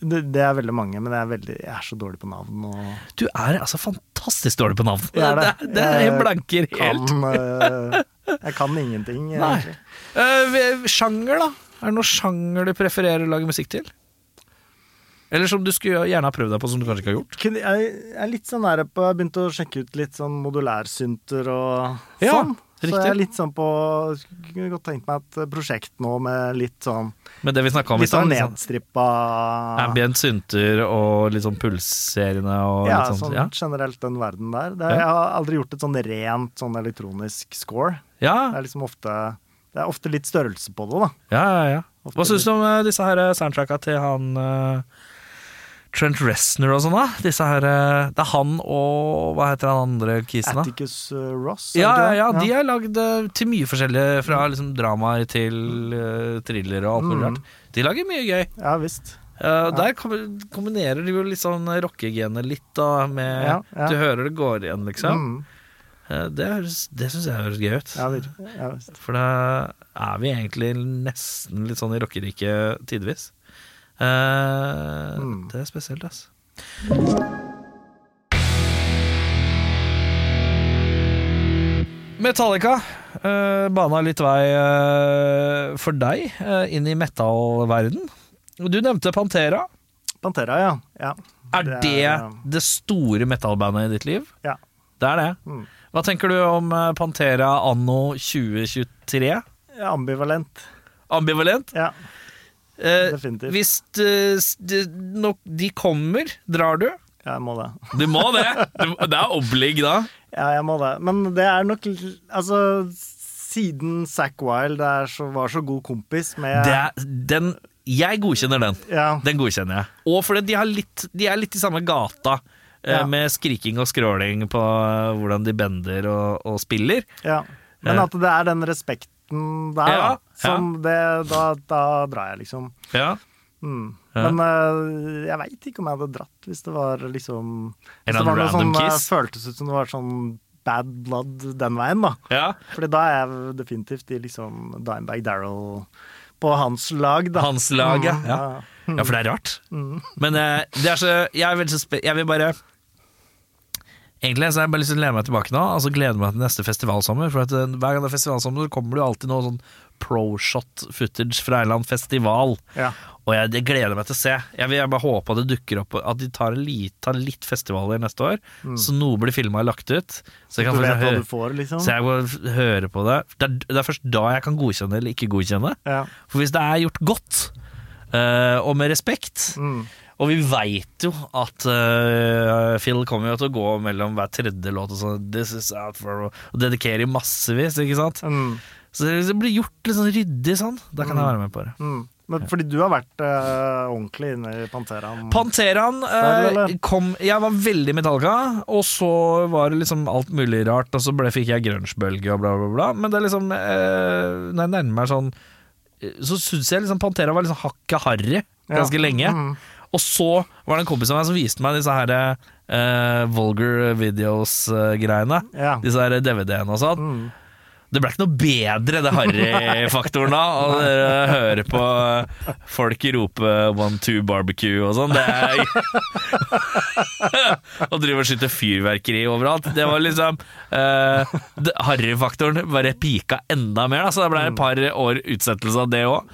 [SPEAKER 2] Det, det er veldig mange, men jeg er, veldig, jeg er så dårlig på navn. og...
[SPEAKER 1] Du er altså fantastisk dårlig på navn.
[SPEAKER 2] Jeg
[SPEAKER 1] <laughs>
[SPEAKER 2] er
[SPEAKER 1] det,
[SPEAKER 2] det.
[SPEAKER 1] det, er- jeg
[SPEAKER 2] Jeg
[SPEAKER 1] blanker helt.
[SPEAKER 2] kan, <laughs> eh, jeg kan ingenting.
[SPEAKER 1] Nei.
[SPEAKER 2] egentlig.
[SPEAKER 1] Eh, sjanger, da? Er det noen sjanger du prefererer å lage musikk til? Eller som du skulle gjerne ha prøvd deg på, som du kanskje ikke har gjort?
[SPEAKER 2] Kunne- Jeg jeg er litt sånn nære på Jeg begynte å sjekke ut litt sånn modulærsynter og
[SPEAKER 1] Ja,
[SPEAKER 2] sånn. Så
[SPEAKER 1] riktig.
[SPEAKER 2] jeg er litt sånn på Kunne godt tenkt meg et prosjekt nå med litt sånn
[SPEAKER 1] Men det vi snakka om i
[SPEAKER 2] Litt sånn
[SPEAKER 1] stad, liksom.
[SPEAKER 2] nedstrippa
[SPEAKER 1] ambient synter og litt sånn pulserende og
[SPEAKER 2] ja,
[SPEAKER 1] litt sånn,
[SPEAKER 2] sånn
[SPEAKER 1] ja.
[SPEAKER 2] generelt den verden der. Det,
[SPEAKER 1] Ja.
[SPEAKER 2] jeg har aldri gjort et sånn rent sånn elektronisk score. Det
[SPEAKER 1] Ja,
[SPEAKER 2] er liksom ofte Det er ofte litt størrelse på det, da.
[SPEAKER 1] ja, ja, ja.
[SPEAKER 2] Ofte
[SPEAKER 1] Hva syns du om eh, disse her eh, soundtracka til han eh, Trent Reznor og sånn, da? Disse her eh, Det er han og hva heter han andre kisen, da?
[SPEAKER 2] Atticus eh, Ross. er
[SPEAKER 1] Ja,
[SPEAKER 2] det
[SPEAKER 1] ja,
[SPEAKER 2] ikke
[SPEAKER 1] ja,
[SPEAKER 2] det?
[SPEAKER 1] de er lagd eh, til mye forskjellig, fra liksom dramaer til uh, thrillere og alt mulig
[SPEAKER 2] Mm.
[SPEAKER 1] rart. De lager mye gøy.
[SPEAKER 2] ja, ja visst.
[SPEAKER 1] Eh, Der kom- kombinerer de jo litt sånn rockegenet litt, da, med
[SPEAKER 2] Ja, ja.
[SPEAKER 1] Du hører det går igjen, liksom.
[SPEAKER 2] Mm.
[SPEAKER 1] Eh, Det, høres- det syns jeg høres gøy ut.
[SPEAKER 2] Ja, det, ja, visst.
[SPEAKER 1] For da er vi egentlig nesten litt sånn i rockerike tidvis. Eh,
[SPEAKER 2] Mm.
[SPEAKER 1] Det er spesielt, ass. Metallica eh, bana litt vei eh, for deg eh, inn i metallverden. Du nevnte Pantera.
[SPEAKER 2] Pantera, ja. ja.
[SPEAKER 1] Er
[SPEAKER 2] Det er,
[SPEAKER 1] det
[SPEAKER 2] ja.
[SPEAKER 1] det store metallbandet i ditt liv?
[SPEAKER 2] Ja.
[SPEAKER 1] Det er det.
[SPEAKER 2] Mm.
[SPEAKER 1] Hva tenker du om eh, Pantera anno 2023?
[SPEAKER 2] Ambivalent.
[SPEAKER 1] Ambivalent?
[SPEAKER 2] Ja,
[SPEAKER 1] Eh,
[SPEAKER 2] definitivt.
[SPEAKER 1] hvis eh, s- de, nok, de kommer, drar du?
[SPEAKER 2] Ja, jeg må det.
[SPEAKER 1] Du må det! Du, det er obligg da.
[SPEAKER 2] Ja, jeg må det. Men det er nok l- Altså, siden Zack Wilde er så, var så god kompis med
[SPEAKER 1] Det er, den, jeg godkjenner den.
[SPEAKER 2] ja,
[SPEAKER 1] Den godkjenner jeg. Og fordi de, har litt, de er litt i samme gata. eh,
[SPEAKER 2] Ja.
[SPEAKER 1] Med skriking og skråling på eh, hvordan de bender og, og spiller.
[SPEAKER 2] ja. Men
[SPEAKER 1] Ja.
[SPEAKER 2] at det er den respekten der,
[SPEAKER 1] Eh. Ja,
[SPEAKER 2] da, som det Da, da drar jeg, liksom.
[SPEAKER 1] Ja.
[SPEAKER 2] Mm.
[SPEAKER 1] Ja.
[SPEAKER 2] Men eh, jeg veit ikke om jeg hadde dratt hvis det var liksom
[SPEAKER 1] En
[SPEAKER 2] Hvis det var noe
[SPEAKER 1] random
[SPEAKER 2] som eh,
[SPEAKER 1] kiss?
[SPEAKER 2] føltes ut som det var sånn bad blood den veien, da.
[SPEAKER 1] ja.
[SPEAKER 2] Fordi da er jeg definitivt i liksom Dimebag Darrell på hans lag, da.
[SPEAKER 1] Hans lag, ja.
[SPEAKER 2] Mm,
[SPEAKER 1] ja. Ja, for det er rart. Men eh, det er så Jeg er veldig så spe... Jeg vil bare Egentlig så har jeg bare lyst til å lene meg tilbake nå og så glede meg til neste festivalsommer. For at eh, hver gang det er festivalsommer, så kommer det jo alltid noe sånn pro-shot footage fra en eller annen festival.
[SPEAKER 2] Ja.
[SPEAKER 1] Og jeg, det gleder jeg meg til å se. Jeg vil jeg bare håpe at det dukker opp At de tar, en li, tar litt festivaler neste år, så noe blir filma og lagt ut. Så jeg kan
[SPEAKER 2] Mm.
[SPEAKER 1] faktisk
[SPEAKER 2] Du vet hva
[SPEAKER 1] høre-
[SPEAKER 2] du får, liksom.
[SPEAKER 1] så jeg må f- høre på det. Det er, det er først da jeg kan godkjenne eller ikke godkjenne.
[SPEAKER 2] Ja.
[SPEAKER 1] For hvis det er gjort godt, eh, og med respekt
[SPEAKER 2] Mm.
[SPEAKER 1] Og vi veit jo at eh, Phil kommer jo til å gå mellom hver tredje låt og sånn This is out for Og dedikerer i massevis, ikke sant?
[SPEAKER 2] Mm.
[SPEAKER 1] Så det blir gjort litt sånn ryddig sånn. Da kan jeg være med på det.
[SPEAKER 2] Mm. Men fordi du har vært eh, ordentlig inne i Panteraen.
[SPEAKER 1] Panteraen
[SPEAKER 2] Serr,
[SPEAKER 1] eh,
[SPEAKER 2] eller?
[SPEAKER 1] kom Jeg var veldig Metallica, og så var det liksom alt mulig rart, og så ble, fikk jeg grunge-bølge og bla, bla, bla. Men det er liksom eh, Når jeg nærmer meg sånn eh, Så syns jeg liksom Pantera var liksom hakket harry ganske
[SPEAKER 2] Ja.
[SPEAKER 1] lenge.
[SPEAKER 2] Mm.
[SPEAKER 1] Og så var det en kompis av meg som viste meg disse her eh, vulgar eh, videos-greiene.
[SPEAKER 2] Ja.
[SPEAKER 1] Disse her DVD-ene og sånn.
[SPEAKER 2] Mm.
[SPEAKER 1] Det ble ikke noe bedre, det harry-faktoren da. Å eh, høre på eh, folk rope 'one two barbecue' og sånn. Det er <laughs> Og drive og skyte fyrverkeri overalt. Det var liksom eh, det- Harry-faktoren bare pika enda mer, da, så det ble et par år utsettelse av det òg.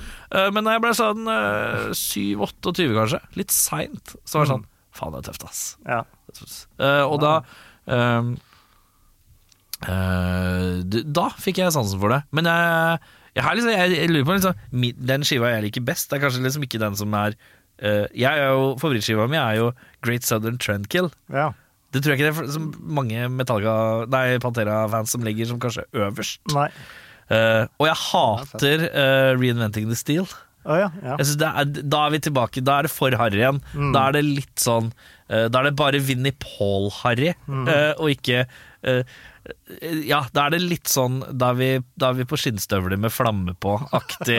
[SPEAKER 1] men da jeg ble sånn eh, 7-28, kanskje, litt seint, så var det sånn Faen, det er tøft, ass.
[SPEAKER 2] Ja.
[SPEAKER 1] Eh, og da ehm, eh, d- Da fikk jeg sansen for det. Men jeg, jeg, har liksom, jeg, jeg lurer på liksom, mi- Den skiva jeg liker best, det er kanskje liksom ikke den som er eh, jeg er jo, Favorittskiva mi er jo Great Southern Trendkill.
[SPEAKER 2] ja.
[SPEAKER 1] Det tror jeg ikke det er for- som mange Metallica- nei, Pantera-fans som ligger som kanskje øverst.
[SPEAKER 2] Nei.
[SPEAKER 1] Eh, og jeg hater eh, Reinventing the Steel.
[SPEAKER 2] Å ja. ja.
[SPEAKER 1] Jeg synes det er, da er vi tilbake, da er det for harry igjen. Da er det litt sånn eh, Da er det bare Vinnie Paul-harry, eh, og ikke eh, eh, ja, da er det litt sånn Da er vi, da er vi på skinnstøvler med flamme
[SPEAKER 2] <laughs>
[SPEAKER 1] på-aktig.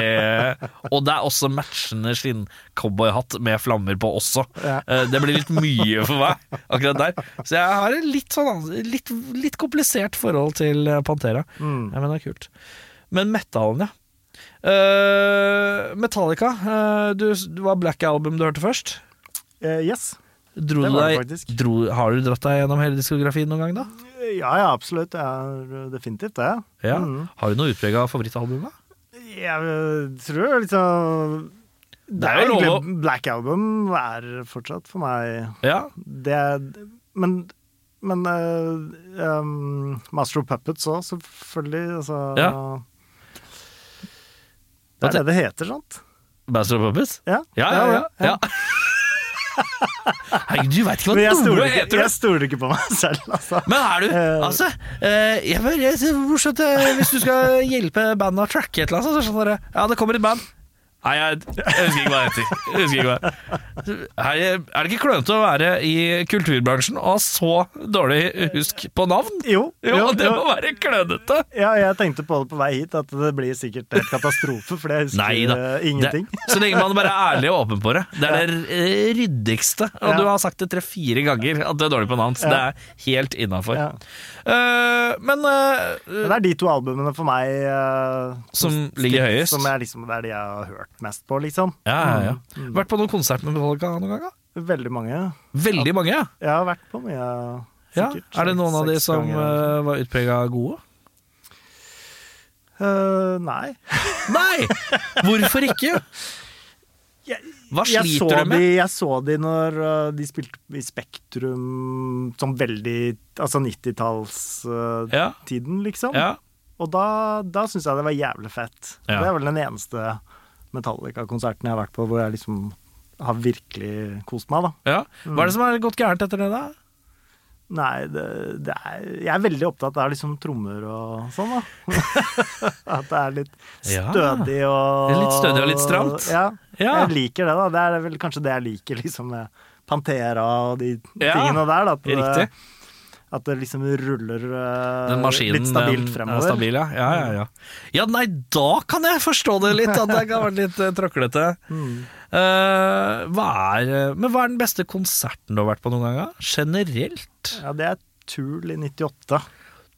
[SPEAKER 1] og det er også matchende skinncowboyhatt med flammer på også.
[SPEAKER 2] Ja.
[SPEAKER 1] Eh, det blir litt mye for meg akkurat der. Så jeg har et litt sånn annet- litt, litt komplisert forhold til eh, Pantera.
[SPEAKER 2] Mm.
[SPEAKER 1] Ja, men det er kult. Men metallen, ja. Eh, Metallica, eh, du, det var Black Album du hørte først.
[SPEAKER 2] Eh, yes.
[SPEAKER 1] Dro
[SPEAKER 2] Det
[SPEAKER 1] du
[SPEAKER 2] var det
[SPEAKER 1] deg,
[SPEAKER 2] faktisk.
[SPEAKER 1] dro, har du dratt deg gjennom hele diskografien noen gang, da?
[SPEAKER 2] Ja, ja, absolutt. Jeg har definitivt det.
[SPEAKER 1] Ja.
[SPEAKER 2] Mm.
[SPEAKER 1] Har du noe utprega favorittalbum, da?
[SPEAKER 2] Jeg eh, tror liksom Det
[SPEAKER 1] er jo
[SPEAKER 2] er jo
[SPEAKER 1] lov å-
[SPEAKER 2] egentlig Black Album er fortsatt for meg
[SPEAKER 1] Ja.
[SPEAKER 2] Det er- Men, men eh, um, Master of Puppets òg, selvfølgelig. Altså,
[SPEAKER 1] Ja.
[SPEAKER 2] Det er det det heter, sant?
[SPEAKER 1] Bastard of Puppets?
[SPEAKER 2] Ja,
[SPEAKER 1] Ja, ja, ja. ja. Hei, du veit ikke
[SPEAKER 2] Men jeg
[SPEAKER 1] hva
[SPEAKER 2] stoler
[SPEAKER 1] noe
[SPEAKER 2] ikke,
[SPEAKER 1] heter!
[SPEAKER 2] jeg stoler ikke på meg selv, altså.
[SPEAKER 1] Men er du
[SPEAKER 2] Eh.
[SPEAKER 1] Altså, eh, jeg bare, jeg, synes det er morsomt eh, hvis du skal hjelpe bandet å tracke et eller annet, så er det sånn derre Ja, det kommer et band. Nei, jeg, jeg husker ikke hva det heter. Jeg husker ikke hva. Her, er det ikke klønete å være i kulturbransjen og ha så dårlig husk på navn?
[SPEAKER 2] Jo,
[SPEAKER 1] Jo, det
[SPEAKER 2] jo.
[SPEAKER 1] må være klønete!
[SPEAKER 2] Ja, jeg tenkte på det på vei hit, at det blir sikkert helt katastrofe, for jeg husker
[SPEAKER 1] Nei da.
[SPEAKER 2] eh, ingenting.
[SPEAKER 1] Det, så lenge man bare er ærlig og åpen på det. Det er det eh, ryddigste. Og
[SPEAKER 2] Ja.
[SPEAKER 1] du har sagt det tre-fire ganger at du er dårlig på navn, så det
[SPEAKER 2] Ja.
[SPEAKER 1] er helt innafor.
[SPEAKER 2] Ja.
[SPEAKER 1] Eh, men eh,
[SPEAKER 2] Men det er de to albumene for meg eh,
[SPEAKER 1] Som ligger høyest.
[SPEAKER 2] Som jeg liksom, det er de jeg har hørt mest på, liksom.
[SPEAKER 1] ja, ja, ja. Vært på noen konsert med Metallica noen ganger?
[SPEAKER 2] Veldig mange.
[SPEAKER 1] Veldig mange, ja.
[SPEAKER 2] Jeg har vært på mye,
[SPEAKER 1] ja.
[SPEAKER 2] sikkert.
[SPEAKER 1] Er det noen av de
[SPEAKER 2] seks
[SPEAKER 1] som
[SPEAKER 2] ganger.
[SPEAKER 1] eh, var utprega gode?
[SPEAKER 2] Eh, nei.
[SPEAKER 1] Nei! Hvorfor ikke?
[SPEAKER 2] <laughs> Jeg-
[SPEAKER 1] Hva
[SPEAKER 2] jeg så,
[SPEAKER 1] sliter du med?
[SPEAKER 2] de, jeg så de når uh, de spilte i Spektrum som veldig Altså 90-tallstiden,
[SPEAKER 1] Ja.
[SPEAKER 2] liksom.
[SPEAKER 1] Ja.
[SPEAKER 2] Og da, da syns jeg det var jævlig fett.
[SPEAKER 1] Ja.
[SPEAKER 2] Det er vel den eneste Metallica-konserten jeg har vært på hvor jeg liksom har virkelig kost meg, da.
[SPEAKER 1] ja. Hva er det som har gått gærent etter det, da?
[SPEAKER 2] Nei, det, det er Jeg er veldig opptatt av liksom trommer og sånn, da. <laughs> At det er litt
[SPEAKER 1] Ja.
[SPEAKER 2] stødig og
[SPEAKER 1] Det er litt stødig og litt stramt.
[SPEAKER 2] Ja.
[SPEAKER 1] Ja.
[SPEAKER 2] Jeg liker det, da. Det er vel kanskje det jeg liker liksom med Pantera og de
[SPEAKER 1] Ja,
[SPEAKER 2] tingene der. Da, at,
[SPEAKER 1] Riktig.
[SPEAKER 2] Det, at det liksom ruller eh,
[SPEAKER 1] Den maskinen
[SPEAKER 2] litt stabilt
[SPEAKER 1] den
[SPEAKER 2] fremover.
[SPEAKER 1] Er stabil, ja. Ja, ja, ja. ja, nei, da kan jeg forstå det litt, at det kan være litt uh, tråklete.
[SPEAKER 2] Mm.
[SPEAKER 1] Eh, hva er, eh, men hva er den beste konserten du har vært på noen ganger? Generelt?
[SPEAKER 2] Ja, det er Tool i 98.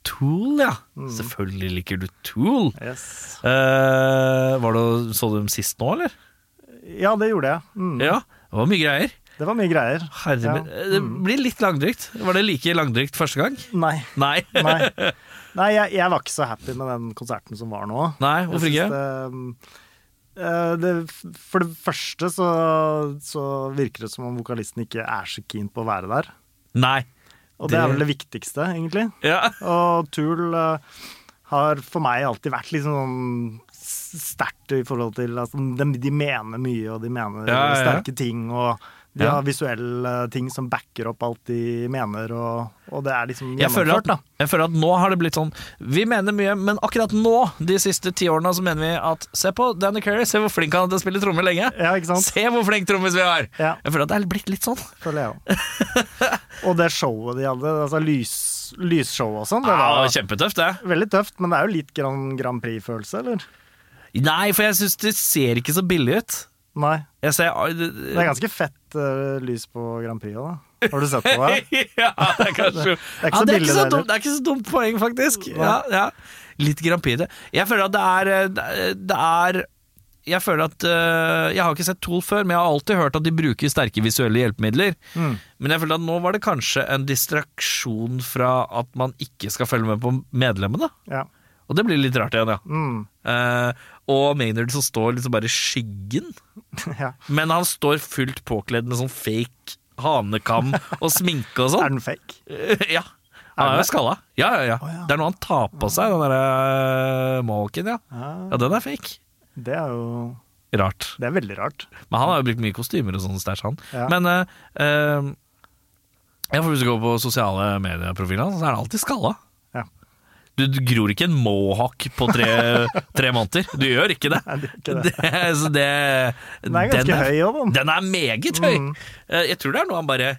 [SPEAKER 1] Tool, ja.
[SPEAKER 2] Mm.
[SPEAKER 1] Selvfølgelig liker du Tool.
[SPEAKER 2] Yes.
[SPEAKER 1] Eh, var det, så du dem sist nå, eller?
[SPEAKER 2] Ja, det gjorde jeg. Mm.
[SPEAKER 1] Ja, det var mye greier.
[SPEAKER 2] Det var mye greier.
[SPEAKER 1] Herre,
[SPEAKER 2] Ja. Mm.
[SPEAKER 1] min- eh, Det blir litt langdrygt. Var det like langdrygt første gang?
[SPEAKER 2] Nei.
[SPEAKER 1] Nei.
[SPEAKER 2] Nei, Nei jeg, jeg var ikke så happy med den konserten som var nå.
[SPEAKER 1] Nei, hvorfor ikke?
[SPEAKER 2] Jeg synes Det, eh, det, for det første så, så virker det som om vokalisten ikke er så keen på å være der.
[SPEAKER 1] <laughs> Nei.
[SPEAKER 2] Og det,
[SPEAKER 1] Det-
[SPEAKER 2] er vel det viktigste, egentlig.
[SPEAKER 1] Ja.
[SPEAKER 2] Og Tool eh, har for meg alltid vært liksom sånn s- sterkt i forhold til altså, de, de mener mye, og de mener
[SPEAKER 1] Ja, ja, ja.
[SPEAKER 2] sterke ting. og de
[SPEAKER 1] Ja.
[SPEAKER 2] har visuelle ting som backer opp alt de mener, og, og det er liksom
[SPEAKER 1] Jeg føler,
[SPEAKER 2] gjennomført, da.
[SPEAKER 1] at, jeg føler at nå har det blitt sånn Vi mener mye, men akkurat nå, de siste ti årene, så mener vi at Se på Danny Carey, se hvor flink han er til å spille trommer lenge.
[SPEAKER 2] Ja, ikke sant?
[SPEAKER 1] Se hvor flink trommis vi har!
[SPEAKER 2] Ja.
[SPEAKER 1] Jeg føler at det er blitt litt sånn.
[SPEAKER 2] føler jeg òg. og det showet de hadde, altså lys, lysshowet og sånn, det
[SPEAKER 1] Ja,
[SPEAKER 2] var
[SPEAKER 1] kjempetøft, det.
[SPEAKER 2] veldig tøft, men det er jo litt Grand, Grand Prix-følelse, eller?
[SPEAKER 1] Nei, for jeg syns det ser ikke så billig ut.
[SPEAKER 2] Nei.
[SPEAKER 1] Jeg ser
[SPEAKER 2] Det er ganske fett eh, lys på Grand Prix òg, da. Har du sett på det?
[SPEAKER 1] <laughs> ja, det er kanskje ja,
[SPEAKER 2] Det er ikke så
[SPEAKER 1] det, er ikke
[SPEAKER 2] billig,
[SPEAKER 1] så
[SPEAKER 2] det
[SPEAKER 1] dumt, det er ikke så dumt poeng, faktisk. Ja, ja. Litt Grand Prix i det. Jeg føler at det er eh, det- Det er Jeg føler at eh, Jeg har ikke sett Tool før, men jeg har alltid hørt at de bruker sterke visuelle hjelpemidler.
[SPEAKER 2] Mm.
[SPEAKER 1] Men jeg føler at nå var det kanskje en distraksjon fra at man ikke skal følge med på medlemmene.
[SPEAKER 2] Ja.
[SPEAKER 1] Og det blir litt rart igjen, ja.
[SPEAKER 2] Mm. <laughs>
[SPEAKER 1] Eh, og Maynard som står liksom bare i skyggen.
[SPEAKER 2] ja.
[SPEAKER 1] Men han står fullt påkledd med sånn fake hanekam og sminke og sånn.
[SPEAKER 2] <laughs> Er den fake?
[SPEAKER 1] <laughs> Ja. Han er jo skalla. Ja, ja, ja.
[SPEAKER 2] ja.
[SPEAKER 1] Det er noe han tar på seg, den derre Malkin, ja.
[SPEAKER 2] Ja,
[SPEAKER 1] Ja, den er fake.
[SPEAKER 2] det er jo
[SPEAKER 1] Rart.
[SPEAKER 2] Det er veldig rart.
[SPEAKER 1] Men han har jo brukt mye kostymer og sånn stæsj, han.
[SPEAKER 2] Ja.
[SPEAKER 1] Men eh, eh, ja, for hvis du går på sosiale medieprofiler, hans, så er han alltid skalla.
[SPEAKER 2] Ja.
[SPEAKER 1] Du, du gror ikke en mohawk på tre, tre måneder. Du gjør ikke det.
[SPEAKER 2] Nei, det er ikke det.
[SPEAKER 1] så <laughs> det
[SPEAKER 2] Den er ganske høy òg, da. Mm.
[SPEAKER 1] Den er meget høy. Eh, Jeg tror det er noe han bare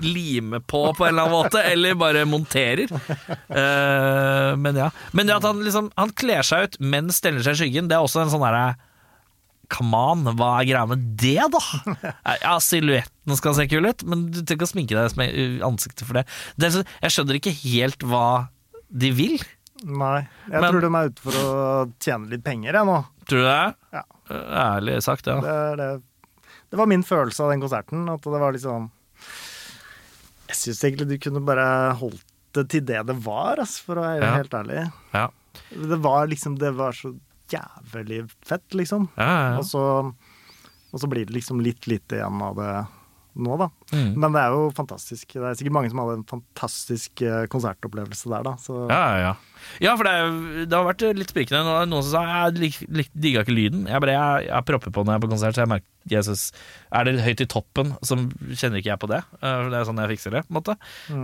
[SPEAKER 1] limer på på en eller annen
[SPEAKER 2] <laughs>
[SPEAKER 1] måte, eller bare monterer. Eh, Men ja. Men det at han liksom Han kler seg ut, men steller seg i skyggen, det er også en sånn derre Come on, hva er greia med det,
[SPEAKER 2] <laughs>
[SPEAKER 1] da? Ja, Silhuetten skal se kul ut, men du trenger ikke å sminke deg med i ansiktet for det. det er så, jeg skjønner ikke helt hva de vil.
[SPEAKER 2] Nei. Jeg
[SPEAKER 1] Men-
[SPEAKER 2] tror de er ute for å tjene litt penger, jeg nå.
[SPEAKER 1] Tror du det? Eh,
[SPEAKER 2] Ja.
[SPEAKER 1] Ærlig sagt, ja.
[SPEAKER 2] Det, er det, det var min følelse av den konserten. At det var liksom Jeg syns egentlig du kunne bare holdt det til det det var, ass, for å være
[SPEAKER 1] Ja.
[SPEAKER 2] helt ærlig.
[SPEAKER 1] Ja.
[SPEAKER 2] Det var liksom Det var så jævlig fett, liksom.
[SPEAKER 1] Ja, ja, ja.
[SPEAKER 2] Og, så, og så blir det liksom litt lite igjen av det nå, da.
[SPEAKER 1] Mm.
[SPEAKER 2] Men det er jo fantastisk. Det er sikkert mange som hadde en fantastisk eh, konsertopplevelse der, da. Så
[SPEAKER 1] Ja, ja, ja. ja for det, er- det har vært litt sprikende. Nå er det Noen som sa jeg lik- lik- digga ikke lyden. Jeg, bare, jeg, jeg propper på når jeg er på konsert, så jeg merker jeg synes, Er det høyt i toppen, så kjenner ikke jeg på det. Eh, for Det er sånn jeg fikser det, på en måte.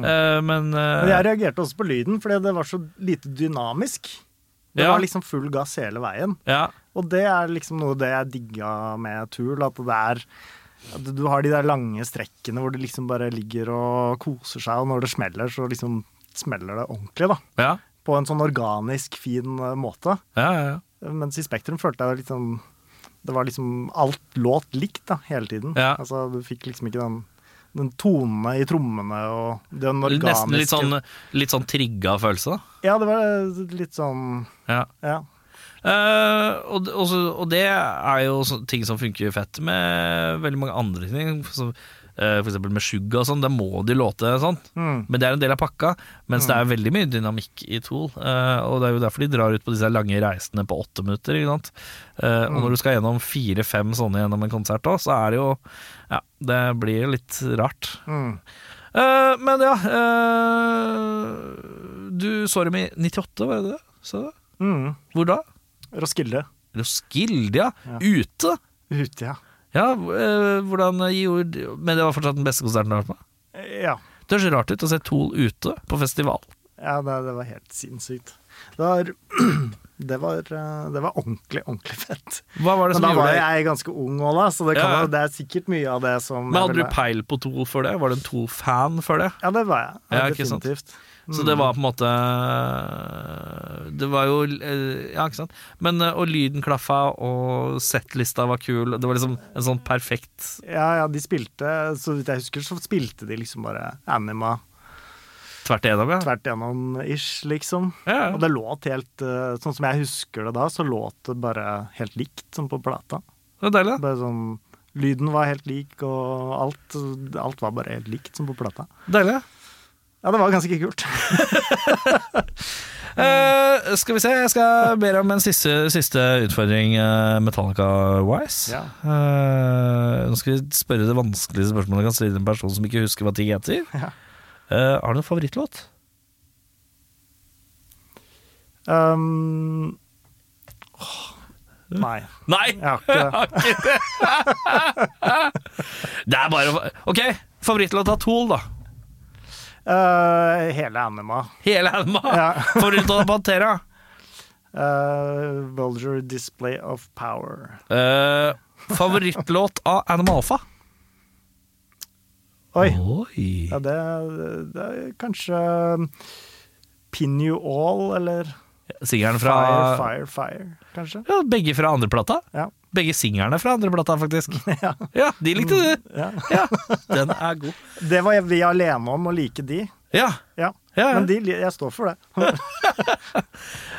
[SPEAKER 1] Eh, men eh,
[SPEAKER 2] Men jeg reagerte også på lyden, fordi det var så lite dynamisk. Det
[SPEAKER 1] Ja.
[SPEAKER 2] var liksom full gass hele veien.
[SPEAKER 1] ja,
[SPEAKER 2] Og det er liksom noe det jeg digga med Tool, at det er at du har de der lange strekkene hvor du liksom bare ligger og koser seg, og når det smeller, så liksom smeller det ordentlig, da.
[SPEAKER 1] ja,
[SPEAKER 2] På en sånn organisk, fin eh, måte.
[SPEAKER 1] ja, ja, ja.
[SPEAKER 2] Mens i Spektrum følte jeg liksom Det var liksom Alt låt likt, da, hele tiden.
[SPEAKER 1] Ja.
[SPEAKER 2] Altså, du fikk liksom ikke den den tonene i trommene og den organiske
[SPEAKER 1] Nesten litt sånn, eh, litt sånn trigga følelse, da.
[SPEAKER 2] Ja, det var litt sånn
[SPEAKER 1] Ja.
[SPEAKER 2] Ja.
[SPEAKER 1] Eh, og, og, så, og det er jo så- ting som funker fett med veldig mange andre ting. Så, eh, for eksempel med Suga og sånn, der må de låte sånn.
[SPEAKER 2] Mm.
[SPEAKER 1] Men det er en del av pakka. Mens det er veldig mye dynamikk i Tool. eh, og det er jo derfor de drar ut på disse lange reisene på åtte minutter. Ikke sant? Eh, og når du skal gjennom fire-fem sånne gjennom en konsert òg, så er det jo Ja, det blir litt rart.
[SPEAKER 2] Mm.
[SPEAKER 1] Eh, men ja eh, Du så dem i 98, var det det? Så, det?
[SPEAKER 2] Mm.
[SPEAKER 1] hvor da?
[SPEAKER 2] Roskilde.
[SPEAKER 1] Roskilde, ja. Ute.
[SPEAKER 2] Ute, ja.
[SPEAKER 1] Ja, eh, hvordan gjorde Men det var fortsatt den beste konserten du har vært med?
[SPEAKER 2] Ja,
[SPEAKER 1] Det høres rart ut å se Tool ute på festival.
[SPEAKER 2] ja det, det var helt sinnssykt. Det var, <clears throat> det var, eh, det var ordentlig, ordentlig fett.
[SPEAKER 1] Hva var det
[SPEAKER 2] Men
[SPEAKER 1] som
[SPEAKER 2] da
[SPEAKER 1] gjorde
[SPEAKER 2] var
[SPEAKER 1] det?
[SPEAKER 2] jeg ganske ung òg, da, så det, kan,
[SPEAKER 1] Ja, ja.
[SPEAKER 2] jo- det er sikkert mye av det som
[SPEAKER 1] Men
[SPEAKER 2] jeg
[SPEAKER 1] hadde du
[SPEAKER 2] ville-
[SPEAKER 1] peil på Tool før det? Var du en Tool-fan før det?
[SPEAKER 2] Ja, det var jeg. Ja,
[SPEAKER 1] Ja, ikke sant.
[SPEAKER 2] definitivt.
[SPEAKER 1] Så det var på en måte Det var jo eh, Ja, ikke sant. Men, eh, og lyden klaffa, og settlista var kul. Det var liksom en sånn perfekt
[SPEAKER 2] Ja, ja, de spilte Så vidt jeg husker, så spilte de liksom bare Anima
[SPEAKER 1] tvert igjennom, ja.
[SPEAKER 2] tvert igjennom ish, liksom.
[SPEAKER 1] ja.
[SPEAKER 2] Og
[SPEAKER 1] ja.
[SPEAKER 2] det låt helt eh, Sånn som jeg husker det da, så låt det bare helt likt som på plata.
[SPEAKER 1] Det var deilig, da.
[SPEAKER 2] Bare sånn Lyden var helt lik, og alt, alt var bare helt likt som på plata.
[SPEAKER 1] Deilig.
[SPEAKER 2] Ja, det var ganske kult.
[SPEAKER 1] Eh, skal vi se, jeg skal be deg om en siste, siste utfordring eh, Metallica-wise.
[SPEAKER 2] Ja.
[SPEAKER 1] Eh, nå skal vi spørre det vanskelige spørsmålet jeg kan stille til en person som ikke husker hva ting heter.
[SPEAKER 2] Ja.
[SPEAKER 1] Eh, har du en favorittlåt?
[SPEAKER 2] Um, åh, nei,
[SPEAKER 1] Nei!
[SPEAKER 2] jeg har ikke det.
[SPEAKER 1] Det er bare Ok, favorittlåt av Tool, da.
[SPEAKER 2] Eh, hele Anima.
[SPEAKER 1] Hele Alma.
[SPEAKER 2] Ja.
[SPEAKER 1] <laughs> Favorittlåt av Pantera.
[SPEAKER 2] Eh, vulgar display of power.
[SPEAKER 1] Eh, favorittlåt av Animal Alpha.
[SPEAKER 2] Oi.
[SPEAKER 1] Oi.
[SPEAKER 2] Ja, det, det er kanskje Pin You All, eller
[SPEAKER 1] Singelen fra
[SPEAKER 2] Fire, Fire, Fire, kanskje.
[SPEAKER 1] Ja, begge fra andreplata.
[SPEAKER 2] Ja.
[SPEAKER 1] Begge singerne fra andreplata,
[SPEAKER 2] <laughs>
[SPEAKER 1] faktisk. Ja. De likte du!
[SPEAKER 2] Ja.
[SPEAKER 1] Ja, Den er god.
[SPEAKER 2] Det var vi alene om å like de.
[SPEAKER 1] Ja.
[SPEAKER 2] Ja.
[SPEAKER 1] ja.
[SPEAKER 2] Men de, li- jeg står for det.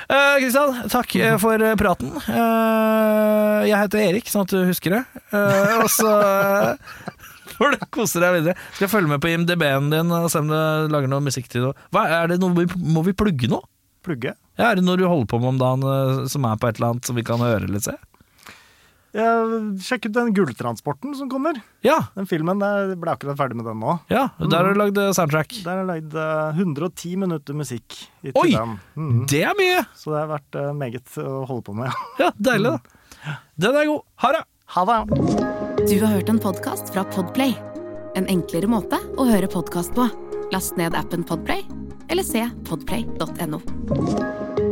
[SPEAKER 1] Eh, Kristian, takk eh, for eh, praten. Eh, jeg heter Erik, sånn at du husker det. Eh, og så eh, <laughs> får du kose deg videre. Skal jeg følge med på IMDb-en din og se om du lager noe musikk til noe. Hva, er det noe vi, må vi plugge nå?
[SPEAKER 2] Plugge.
[SPEAKER 1] Ja, er det noe du holder på med om dagen eh, som er på et eller annet som vi kan høre eller se?
[SPEAKER 2] Ja, sjekk ut den Gulltransporten som kommer.
[SPEAKER 1] Ja,
[SPEAKER 2] Den filmen der jeg ble akkurat ferdig med den nå.
[SPEAKER 1] ja der har du lagd eh, soundtrack.
[SPEAKER 2] Der er det lagd eh, 110 minutter musikk i
[SPEAKER 1] Oi!
[SPEAKER 2] til den. Mm.
[SPEAKER 1] Det er mye!
[SPEAKER 2] Så det har vært eh, meget å holde på med. <laughs>
[SPEAKER 1] Ja, Deilig, da. Den er god. Ha det!
[SPEAKER 2] Ha det!
[SPEAKER 3] Du har hørt en podkast fra Podplay. En enklere måte å høre podkast på. Last ned appen Podplay, eller se podplay.no.